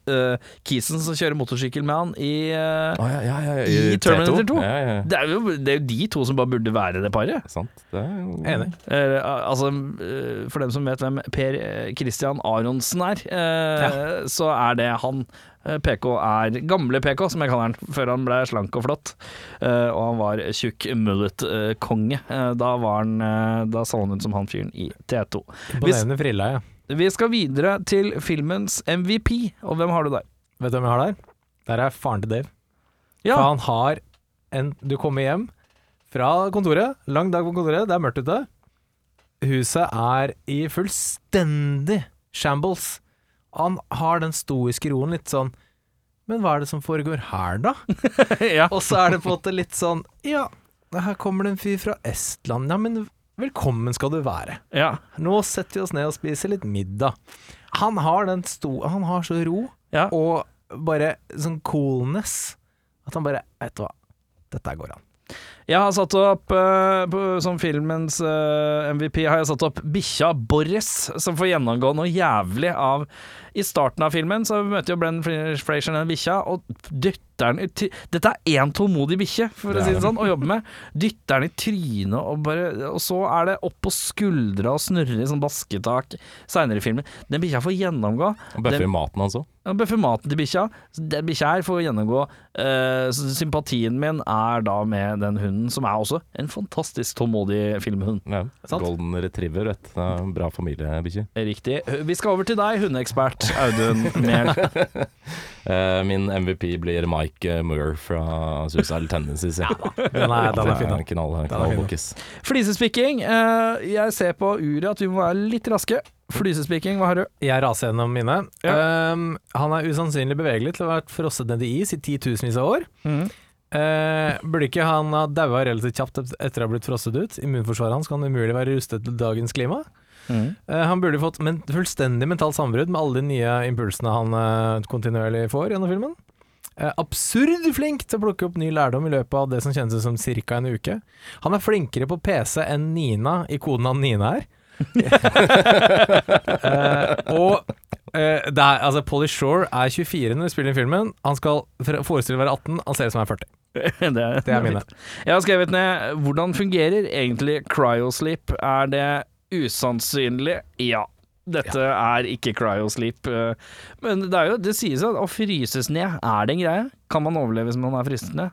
Speaker 1: mullet-kisen som kjører motorsykkel med han i eh,
Speaker 3: Å, ja, ja, ja,
Speaker 1: I
Speaker 3: T2.
Speaker 1: Terminator 2.
Speaker 3: Ja, ja, ja.
Speaker 1: det, er jo, det er jo de to som bare burde være det paret.
Speaker 3: Sant. Det er jo
Speaker 2: Enig.
Speaker 1: Eh, altså, eh, for dem som vet hvem Per eh, Christian Aronsen er, eh, så er det han. Eh, PK er gamle PK, som jeg kaller han, før han ble slank og flott. Eh, og han var tjukk mullet-konge. Eh, da, var han, eh, da så han ut som han fyren i T2.
Speaker 2: Imponerende frilla, ja.
Speaker 1: Vi skal videre til filmens MVP, og hvem har du der?
Speaker 2: Vet du hvem jeg har der? Der er faren til Dave.
Speaker 1: Ja,
Speaker 2: For han har en Du kommer hjem fra kontoret, lang dag på kontoret, det er mørkt ute. Huset er i fullstendig shambles. Han har den stoiske roen litt sånn Men hva er det som foregår her, da?
Speaker 1: ja.
Speaker 2: Og så er det på en måte litt sånn Ja, her kommer det en fyr fra Estland. Ja, men velkommen skal du være.
Speaker 1: ja.
Speaker 2: Nå setter vi oss ned og spiser litt middag. Han har den sto... Han har så ro
Speaker 1: Ja.
Speaker 2: og bare sånn coolness at han bare Vet du hva, dette går an.
Speaker 1: Jeg har satt opp, eh, på, som filmens eh, MVP, har jeg satt opp bikkja Boris, som får gjennomgå noe jævlig av I starten av filmen så møter jo Brenn Frazier den bikkja, og dytter den i ty Dette er én tålmodig bikkje, for å
Speaker 3: Det er
Speaker 1: si det
Speaker 3: det.
Speaker 1: sånn, å jobbe med. Dytter den i trynet, og, bare, og så er det opp på skuldra og snurre i sånn basketak seinere i filmen. Den bikkja får gjennomgå.
Speaker 3: Og bøffer
Speaker 1: Den-
Speaker 3: i maten hans òg.
Speaker 1: han bøffer maten til bikkja. Så Den bikkja her får gjennomgå eh, så Sympatien min er da med den hunden, som er også en fantastisk tålmodig filmhund.
Speaker 3: Ja.
Speaker 2: Sant.
Speaker 3: Golden retriever, vet du. Det er en Bra familiebikkje.
Speaker 1: Riktig. Vi skal over til deg, hundeekspert Audun Mehl.
Speaker 3: Eh, min MVP blir Mike eh, Moore fra Suicide Tendencies. Ja,
Speaker 2: Den er, den er fin, da.
Speaker 3: Knall,
Speaker 2: Den er fin, da.
Speaker 3: knallbokkis.
Speaker 1: Flisespikking. eh, jeg ser på uret at vi må være litt raske. Flisespikking, hva har du?
Speaker 2: Jeg raser gjennom mine. Um, han er usannsynlig bevegelig til å ha vært frosset ned i is i titusenvis av år. Eh, burde ikke han ha daua relativt kjapt et- etter å ha blitt frosset ut? Immunforsvaret hans kan umulig være rustet til dagens klima.
Speaker 1: Mhm.
Speaker 2: Eh, han burde fått men fullstendig mentalt sammenbrudd med alle de nye impulsene han eh, kontinuerlig får gjennom filmen. Eh, absurd flink til å plukke opp ny lærdom i løpet av det som kjennes ut som ca. en uke. Han er flinkere på PC enn Nina i koden han Nina er. Eh, og eh, det er, altså, Polly Shore er 24 når vi spiller inn filmen. Han skal fre- forestille å være 18, han ser ut som han er 40.
Speaker 1: Det,
Speaker 2: Det er mine.
Speaker 1: fint. Jeg har skrevet ned hvordan fungerer egentlig cryosleep. Er det usannsynlig? Ja. Dette er ikke cryosleep. eh, Men det, er jo, det sies jo at å fryses ned, er det en greie? Kan man overleve hvis man er fryst ned?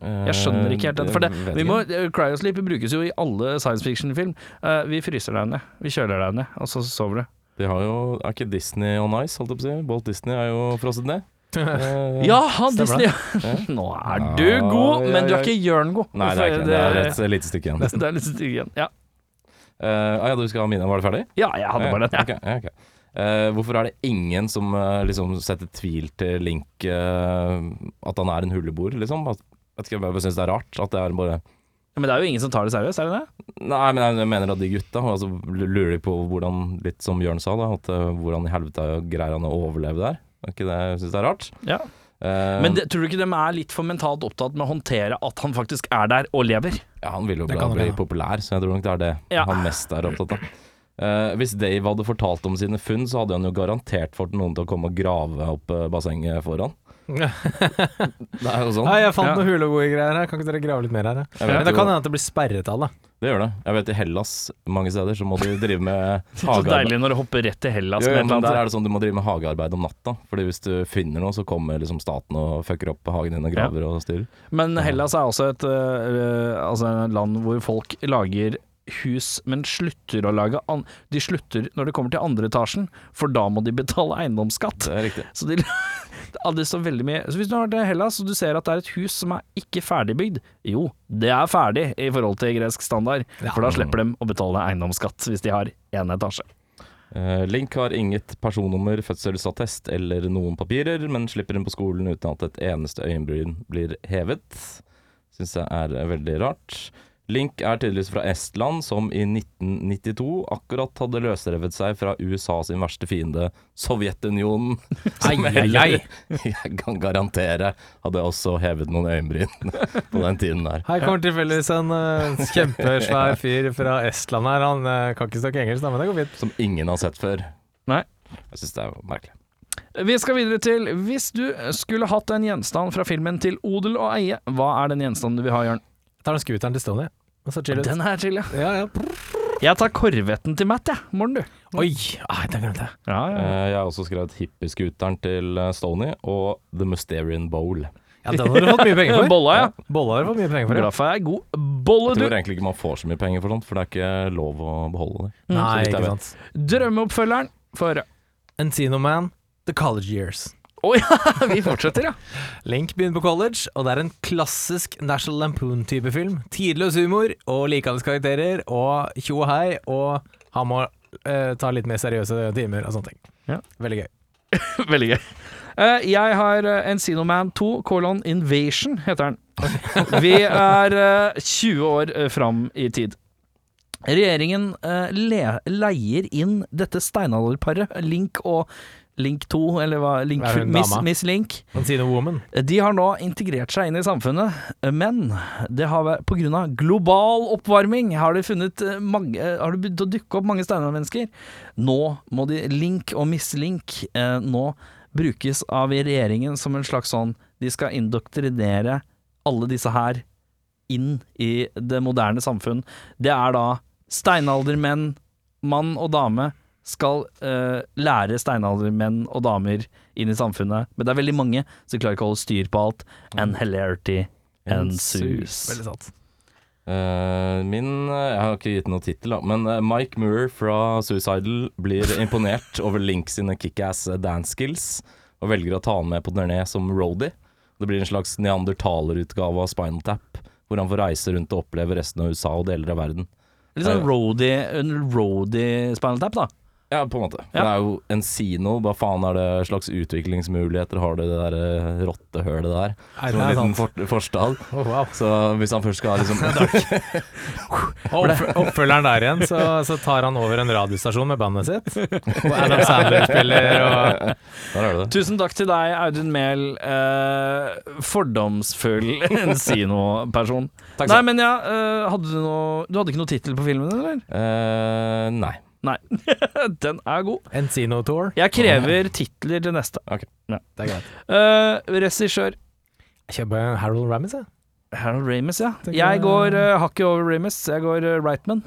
Speaker 1: Jeg skjønner ikke helt den.
Speaker 3: Eh,
Speaker 1: For det, vi må, eh, cryosleep brukes jo i alle science fiction-film. Eh, Vi fryser deg ned, vi kjøler deg ned, og så sover du.
Speaker 3: De har jo, er ikke Disney on ice, holdt jeg på å si? Walt Disney er jo frosset ned. Eh,
Speaker 1: Ja, han
Speaker 2: Stemmer
Speaker 1: Disney! Nå er du god, men du er ikke Jørn god.
Speaker 3: Nei, det er ikke det. er et lite stykke igjen.
Speaker 1: Det er litt stygg igjen. Ja.
Speaker 3: Eh, ah, ja, du skal ha mine. Var du ferdig?
Speaker 1: ja, jeg hadde bare den. Ja.
Speaker 3: Ok, ja, ok. Eh, hvorfor er det ingen som eh, liksom setter tvil til Link eh, at han er en huleboer, liksom? At, jeg vet ikke, jeg bare syns det er rart at det er bare
Speaker 1: Men det er jo ingen som tar det seriøst, er det det?
Speaker 3: Nei, men jeg mener at de gutta altså, lurer de på hvordan, litt som Jørn sa, da, at, eh, hvordan i helvete greier han å overleve der? Er ikke det jeg syns det er rart?
Speaker 1: Ja.
Speaker 3: Eh,
Speaker 1: Men det, tror du ikke de er litt for mentalt opptatt med å håndtere at han faktisk er der og lever?
Speaker 3: ja, han vil jo
Speaker 2: Det
Speaker 3: bli,
Speaker 2: kan
Speaker 3: bli
Speaker 2: hende.
Speaker 3: populær, så jeg tror nok det er det
Speaker 1: Ja.
Speaker 3: han mest er opptatt av. Eh, hvis Dave hadde fortalt om sine funn, så hadde han jo garantert fått noen til å komme og grave opp eh, bassenget foran. Det er jo sånn.
Speaker 2: Nei, jeg fant
Speaker 1: Ja.
Speaker 2: noen huleboergreier her, kan ikke dere grave litt mer her? Ja?
Speaker 3: Jeg vet
Speaker 2: Men det
Speaker 3: jo-
Speaker 2: kan hende at det blir sperretall, da.
Speaker 3: Det gjør det. Jeg vet i Hellas mange steder så må du drive med
Speaker 1: Så
Speaker 3: hagearbeid.
Speaker 1: deilig når du hopper rett til Hellas
Speaker 3: Jo,
Speaker 1: med
Speaker 3: jo,
Speaker 1: et
Speaker 3: men
Speaker 1: eller
Speaker 3: der
Speaker 1: annet.
Speaker 3: er det sånn du må drive med hagearbeid om natta. Fordi hvis du finner noe, så kommer liksom staten og fucker opp hagen din og graver og styrer.
Speaker 1: Men Hellas er også et øh, altså et land hvor folk lager hus, men slutter å lage an De slutter når det kommer til andre etasjen, for da må de betale eiendomsskatt.
Speaker 3: Det er riktig.
Speaker 1: Så de Ja, det står veldig mye Så Hvis du har vært i Hellas og du ser at det er et hus som er ikke ferdigbygd Jo, det er ferdig i forhold til gresk standard, for da slipper de å betale eiendomsskatt hvis de har én etasje.
Speaker 3: Eh, Link har inget personnummer, fødselsattest eller noen papirer, men slipper inn på skolen uten at et eneste øyenbryn blir hevet. Syns jeg er eh, veldig rart. Link er tydeligvis fra Estland, som i 1992 akkurat hadde løsrevet seg fra USA sin verste fiende, Sovjetunionen. Som
Speaker 2: Ai, ai, ai.
Speaker 3: jeg kan garantere hadde også hevet noen øyenbryn på den tiden der.
Speaker 2: Her kommer tilfeldigvis en eh, kjempesvær fyr fra Estland her. Han eh, kan ikke snakke engelsk, da, men det går fint.
Speaker 3: Som ingen har sett før.
Speaker 1: Nei.
Speaker 3: Jeg syns det er merkelig.
Speaker 1: Vi skal videre til Hvis du skulle hatt en gjenstand fra filmen til odel og eie, hva er den gjenstanden du vil ha, Jørn?
Speaker 2: Jeg tar den scooteren til Stony. Og så chill ut.
Speaker 1: Den her chill, ja.
Speaker 2: Ja, ja.
Speaker 1: Jeg tar korvetten til Matt, jeg. Ja. Morn, du.
Speaker 2: Oi, ai, den glemte Ah, jeg.
Speaker 1: Ja,
Speaker 3: Eh, Jeg har også skrevet hippiescooteren til eh, Stony og The Mysterian Bowl.
Speaker 2: Ja, den har du fått mye penger for.
Speaker 1: Bolla, Eh, ja.
Speaker 2: Bolla har du fått mye penger for.
Speaker 1: Glad for jeg er god. Bolle,
Speaker 3: Jeg tror
Speaker 1: du.
Speaker 3: egentlig ikke man får så mye penger for sånt, for det er ikke lov å beholde det.
Speaker 1: Mm.
Speaker 2: Ja. Nei,
Speaker 3: Så vidt jeg
Speaker 2: ikke
Speaker 3: vet.
Speaker 2: sant.
Speaker 1: Drømmeoppfølgeren. Få høre.
Speaker 2: Encino Man, The College Years.
Speaker 1: Å ja, vi fortsetter, ja.
Speaker 2: Link begynner på college, og det er en klassisk National Lampoon-type film. Tidløs humor og likandes karakterer og tjo og hei, og han må eh, ta litt mer seriøse timer og sånne ting.
Speaker 1: Ja.
Speaker 2: Veldig gøy.
Speaker 1: Veldig gøy. Eh, jeg har eh, Encino Man 2, colon Invasion, heter den. Vi er eh, 20 år eh, fram i tid. Regjeringen eh, le leier inn dette steinalderparet, Link og Link 2, eller hva Link,
Speaker 2: Er hun
Speaker 1: Miss,
Speaker 2: dama?
Speaker 1: Miss Link.
Speaker 2: Francine Woman.
Speaker 1: De har nå integrert seg inn i samfunnet, men det har vært pga. global oppvarming har det funnet eh, mange, eh, har det begynt å dukke opp mange steinaldermennesker. Nå må de link og mislink eh, nå brukes av regjeringen som en slags sånn De skal indoktrinere alle disse her inn i det moderne samfunn. Det er da steinaldermenn, mann og dame, skal eh, lære steinaldermenn og damer inn i samfunnet. Men det er veldig mange, så de klarer ikke å holde styr på alt. And hilarity ensues.
Speaker 2: Veldig sant.
Speaker 3: Eh, min eh, Jeg har ikke gitt noe tittel, da, men eh, Mike Moore fra Suicidal blir imponert over Link sine kickass eh, dance skills og velger å ta han med på turné som roadie. Det blir en slags neandertalerutgave av Spinal Tap, hvor han får reise rundt og oppleve resten av USA og deler av verden.
Speaker 1: Litt sånn roadie, en roadie spinal tap, da.
Speaker 3: Ja, på en måte. For
Speaker 1: Ja.
Speaker 3: Det er jo Encino. Hva faen er det slags utviklingsmuligheter har det det der eh, rottehølet der?
Speaker 2: Nei, det
Speaker 3: Som en
Speaker 2: er
Speaker 3: liten
Speaker 2: sant.
Speaker 3: for forstad.
Speaker 2: Oh, wow.
Speaker 3: Så hvis han først skal liksom
Speaker 2: Og oppf- oppfølgeren der igjen, så, så tar han over en radiostasjon med bandet sitt. Og Adam Sandler spiller, og
Speaker 3: Der er det.
Speaker 1: Tusen takk til deg, Audun Mehl. Eh, fordomsfull Encino-person.
Speaker 3: Takk
Speaker 1: Nei,
Speaker 3: skal
Speaker 1: men ja, eh, hadde du noe Du hadde ikke noe tittel på filmen, eller?
Speaker 3: Eh, nei.
Speaker 1: Nei. Den er god.
Speaker 2: Encino Tour.
Speaker 1: Jeg krever titler til neste.
Speaker 2: Det er greit.
Speaker 1: Eh, regissør
Speaker 2: Jeg kjøper Harold Ramis, jeg.
Speaker 1: Harold Ramis, ja.
Speaker 2: Tenker
Speaker 1: Jeg
Speaker 2: jeg-
Speaker 1: går eh, hakket over Ramis. Jeg går eh, Reitman.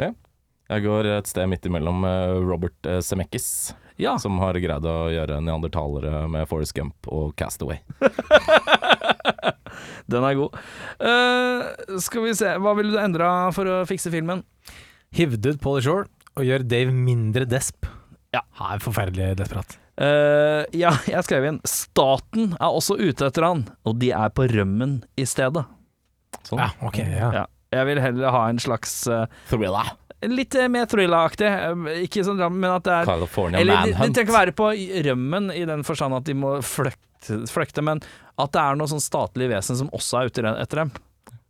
Speaker 3: Jeg går et sted midt imellom eh, Robert eh, Zemeckis,
Speaker 1: Ja.
Speaker 3: som har greid å gjøre neandertalere med Forrest Gump og Castaway.
Speaker 1: Den er god. Eh, skal vi se Hva ville du endra for å fikse filmen?
Speaker 2: Hivd ut Polly Shore og gjør Dave mindre desp.
Speaker 1: Ja.
Speaker 2: Han er forferdelig desperat.
Speaker 1: Eh, ja, jeg skrev inn Staten er også ute etter han, og de er på rømmen i stedet.
Speaker 3: Sånn.
Speaker 2: Ja, ok, ja.
Speaker 1: Ja. Jeg vil heller ha en slags eh,
Speaker 3: Thriller. Litt
Speaker 1: Litt eh, mer thriller-aktig. Eh, Ikke sånn drama, men at det er
Speaker 3: California
Speaker 1: Eller de, de
Speaker 3: Manhunt.
Speaker 1: trenger ikke være på rømmen i den forstand at de må flykte, flykte men at det er noe sånn statlig vesen som også er ute etter dem.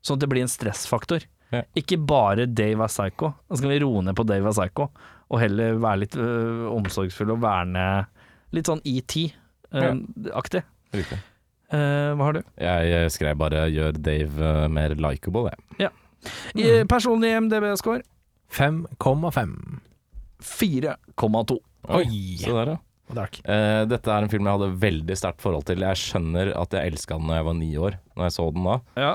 Speaker 1: Sånn at det blir en stressfaktor.
Speaker 3: Ja.
Speaker 1: Ikke bare Dave er psycho. Da skal vi roe ned på Dave er psycho, og heller være litt øh, omsorgsfulle og verne litt sånn ET-aktig.
Speaker 3: Riktig.
Speaker 1: Øh, hva har du?
Speaker 3: Jeg eh, skrev bare 'gjør Dave eh, mer likeable', jeg.
Speaker 1: I- Personlig MDB-score
Speaker 2: 5,5.
Speaker 1: 4,2.
Speaker 2: Oi.
Speaker 3: Så der, ja.
Speaker 2: Og dark.
Speaker 3: Eh, dette er en film jeg hadde veldig sterkt forhold til. Jeg skjønner at jeg elska den da jeg var ni år, når jeg så den da.
Speaker 1: Ja.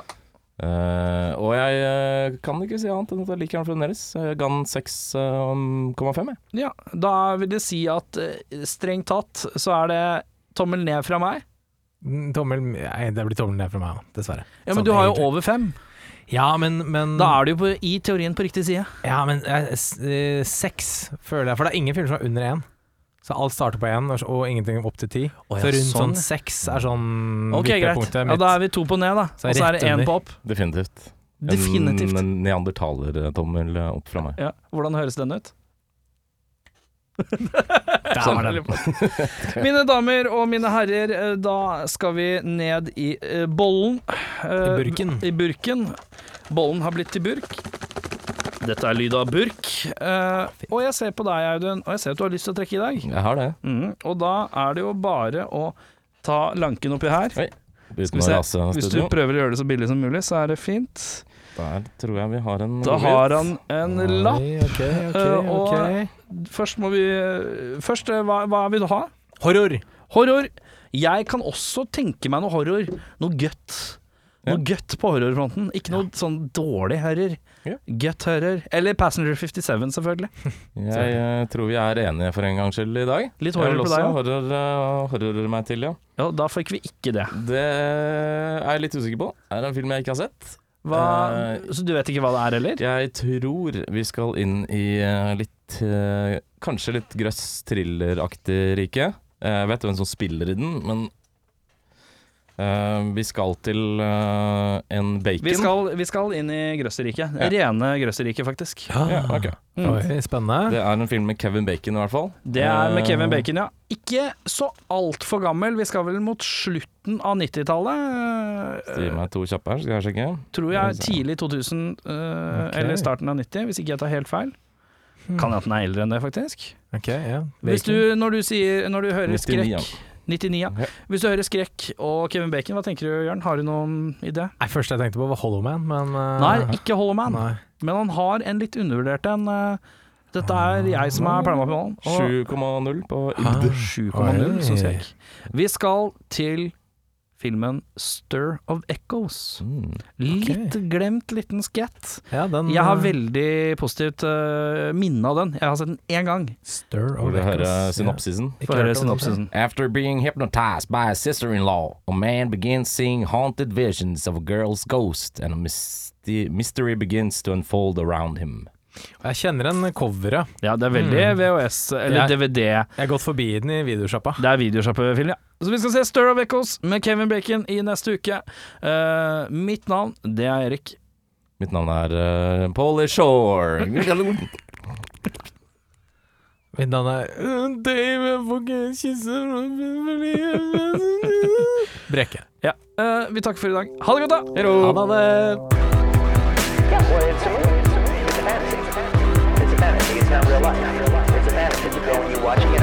Speaker 3: Eh, og jeg eh, kan ikke si annet enn at jeg liker den fremdeles. Jeg ga den eh, 6,5, jeg.
Speaker 1: Ja, da vil det si at eh, strengt tatt så er det tommel ned fra meg.
Speaker 2: Mm, Tommel Nei, det blir tommel ned fra meg òg, dessverre.
Speaker 1: Ja, men
Speaker 2: Sånn
Speaker 1: du har jo
Speaker 2: egentlig. Mm.
Speaker 1: over fem.
Speaker 2: Ja, men, men
Speaker 1: Da er du jo på, i teorien på riktig side.
Speaker 2: Ja, men eh, s- eh, seks, føler jeg. For det er ingen filmer som er under én. Så alt starter på én, og, s- og ingenting opp til ti.
Speaker 1: Å ja,
Speaker 2: så rundt
Speaker 1: sånn,
Speaker 2: sånn
Speaker 1: ja.
Speaker 2: seks er sånn
Speaker 1: Ok, greit.
Speaker 2: vippepunktet
Speaker 1: Ja, da er vi to på ned, da.
Speaker 2: Så
Speaker 1: Og
Speaker 2: er
Speaker 1: så er
Speaker 2: rett
Speaker 1: det én
Speaker 2: under.
Speaker 1: på opp.
Speaker 3: Definitivt.
Speaker 1: Definitivt.
Speaker 3: En neandertalertommel opp fra meg.
Speaker 1: Ja. Hvordan høres den ut? Sånn.
Speaker 2: var den.
Speaker 1: Mine damer og mine herrer, eh, da skal vi ned i eh, bollen. Eh,
Speaker 2: I burken.
Speaker 1: I burken. Bollen har blitt til burk. Dette er lyd av burk. Eh, og jeg ser på deg, Audun, og jeg ser at du har lyst til å trekke i dag.
Speaker 3: Jeg har det.
Speaker 1: Mhm, og da er det jo bare å ta lanken oppi her.
Speaker 3: Oi, Uten
Speaker 1: vi
Speaker 3: å
Speaker 1: se.
Speaker 3: rase
Speaker 1: Hvis du
Speaker 3: studio.
Speaker 1: prøver å gjøre det så billig som mulig, så er det fint.
Speaker 3: Der tror jeg vi har en
Speaker 1: Da
Speaker 3: godbit.
Speaker 1: har han en lapp.
Speaker 2: Oi, ok, ok,
Speaker 1: Eh, og-
Speaker 2: ok.
Speaker 1: Først må vi Først, eh, hva, hva vil du ha?
Speaker 2: Horror.
Speaker 1: Horror. Jeg kan også tenke meg noe horror. Noe gøtt. Noe gøtt på horrorfronten. Ikke noe sånn dårlig horror.
Speaker 3: Ja.
Speaker 1: Gøtt horror. Eller Passenger 57, selvfølgelig.
Speaker 3: Jeg eh, tror vi er enige for en gangs skyld i dag.
Speaker 1: Litt horror
Speaker 3: jeg vil
Speaker 1: på
Speaker 3: også
Speaker 1: deg, ja.
Speaker 3: horror, eh, horror meg til, ja.
Speaker 1: Ja, da fikk vi ikke det.
Speaker 3: Det eh, er jeg litt usikker på. Er det en film jeg ikke har sett?
Speaker 1: Hva,
Speaker 3: Eh,
Speaker 1: så du vet ikke hva det er heller?
Speaker 3: Jeg tror vi skal inn i eh, litt eh, Kanskje litt grøss thrilleraktig rike. Eh, Jeg vet hvem som spiller i den, men eh, vi skal til eh, en bacon.
Speaker 1: Vi skal, vi skal inn i grøsserriket. Rene grøsserriket, faktisk. Mm.
Speaker 3: Ja, ok.
Speaker 2: Oi, spennende.
Speaker 3: Det er en film med Kevin Bacon, i hvert fall.
Speaker 1: Det er med
Speaker 3: Eh,
Speaker 1: Kevin Bacon, ja. Ikke så altfor gammel. Vi skal vel mot slutten av 90-tallet.
Speaker 3: Gi meg to kjappe her, skal jeg sjekke.
Speaker 1: tror jeg tidlig 2000, eh,
Speaker 2: Ok.
Speaker 1: eller starten av 90, hvis ikke jeg tar helt feil. Kan hende den er eldre enn det, faktisk.
Speaker 2: Ok, ja.
Speaker 1: Hvis du,
Speaker 2: Bacon.
Speaker 1: når, du sier, når du hører
Speaker 3: 99, ja.
Speaker 1: skrekk 99, ja.
Speaker 3: Ja.
Speaker 1: Hvis du hører skrekk og Kevin Bacon, hva tenker du, Jørn? Har du noen idé?
Speaker 2: Nei, første jeg tenkte på var Hollow Man, men eh,
Speaker 1: Nei, ikke Hollow Man,
Speaker 2: nei.
Speaker 1: men han har en litt undervurdert en. eh, Dette er jeg som er pælmapimalen.
Speaker 3: 7,0 på
Speaker 2: Ah.
Speaker 3: ID.
Speaker 1: 7,0,
Speaker 2: Oi.
Speaker 1: syns jeg ikke. Vi skal til filmen Stir of Echoes.
Speaker 3: Mm.
Speaker 1: Litt glemt liten skett.
Speaker 2: Ja, den
Speaker 1: Jeg har
Speaker 2: eh,
Speaker 1: veldig positivt eh, minne av den. Jeg har sett den én gang.
Speaker 2: eh, Stir
Speaker 3: Hvor
Speaker 2: of
Speaker 3: du hører
Speaker 2: Echoes.
Speaker 3: synopsisen.
Speaker 2: Ja. Ikke
Speaker 1: Få høre
Speaker 2: hørt om den.
Speaker 1: synopsisen.
Speaker 3: After being hypnotized by a sister in law, a man begins seeing haunted visions of a girl's ghost, and a mysti- mystery begins to unfold around him.
Speaker 2: Jeg kjenner en coveret.
Speaker 1: Ja, det er veldig VHS, eller
Speaker 2: Mm. Jeg-
Speaker 1: DVD.
Speaker 2: Jeg har gått forbi den i videosjappa.
Speaker 1: Det er videosjappefilm, ja. Så vi skal se Stir of Echoes med Kevin Bacon i neste uke. Eh, mitt navn, det er Erik.
Speaker 3: Mitt navn er uh, Polly Shore.
Speaker 2: Mitt navn er Øh, Dave, jeg får ikke kysse Breke.
Speaker 1: Ja. eh, vi takker for i dag. Ha det godt, da!
Speaker 2: Ha det, ha det.
Speaker 4: Yeah, well, it's a movie. It's a movie. It's a fantasy. It's a fantasy. It's not real life. It's a fantasy. It's a film you watch, you know,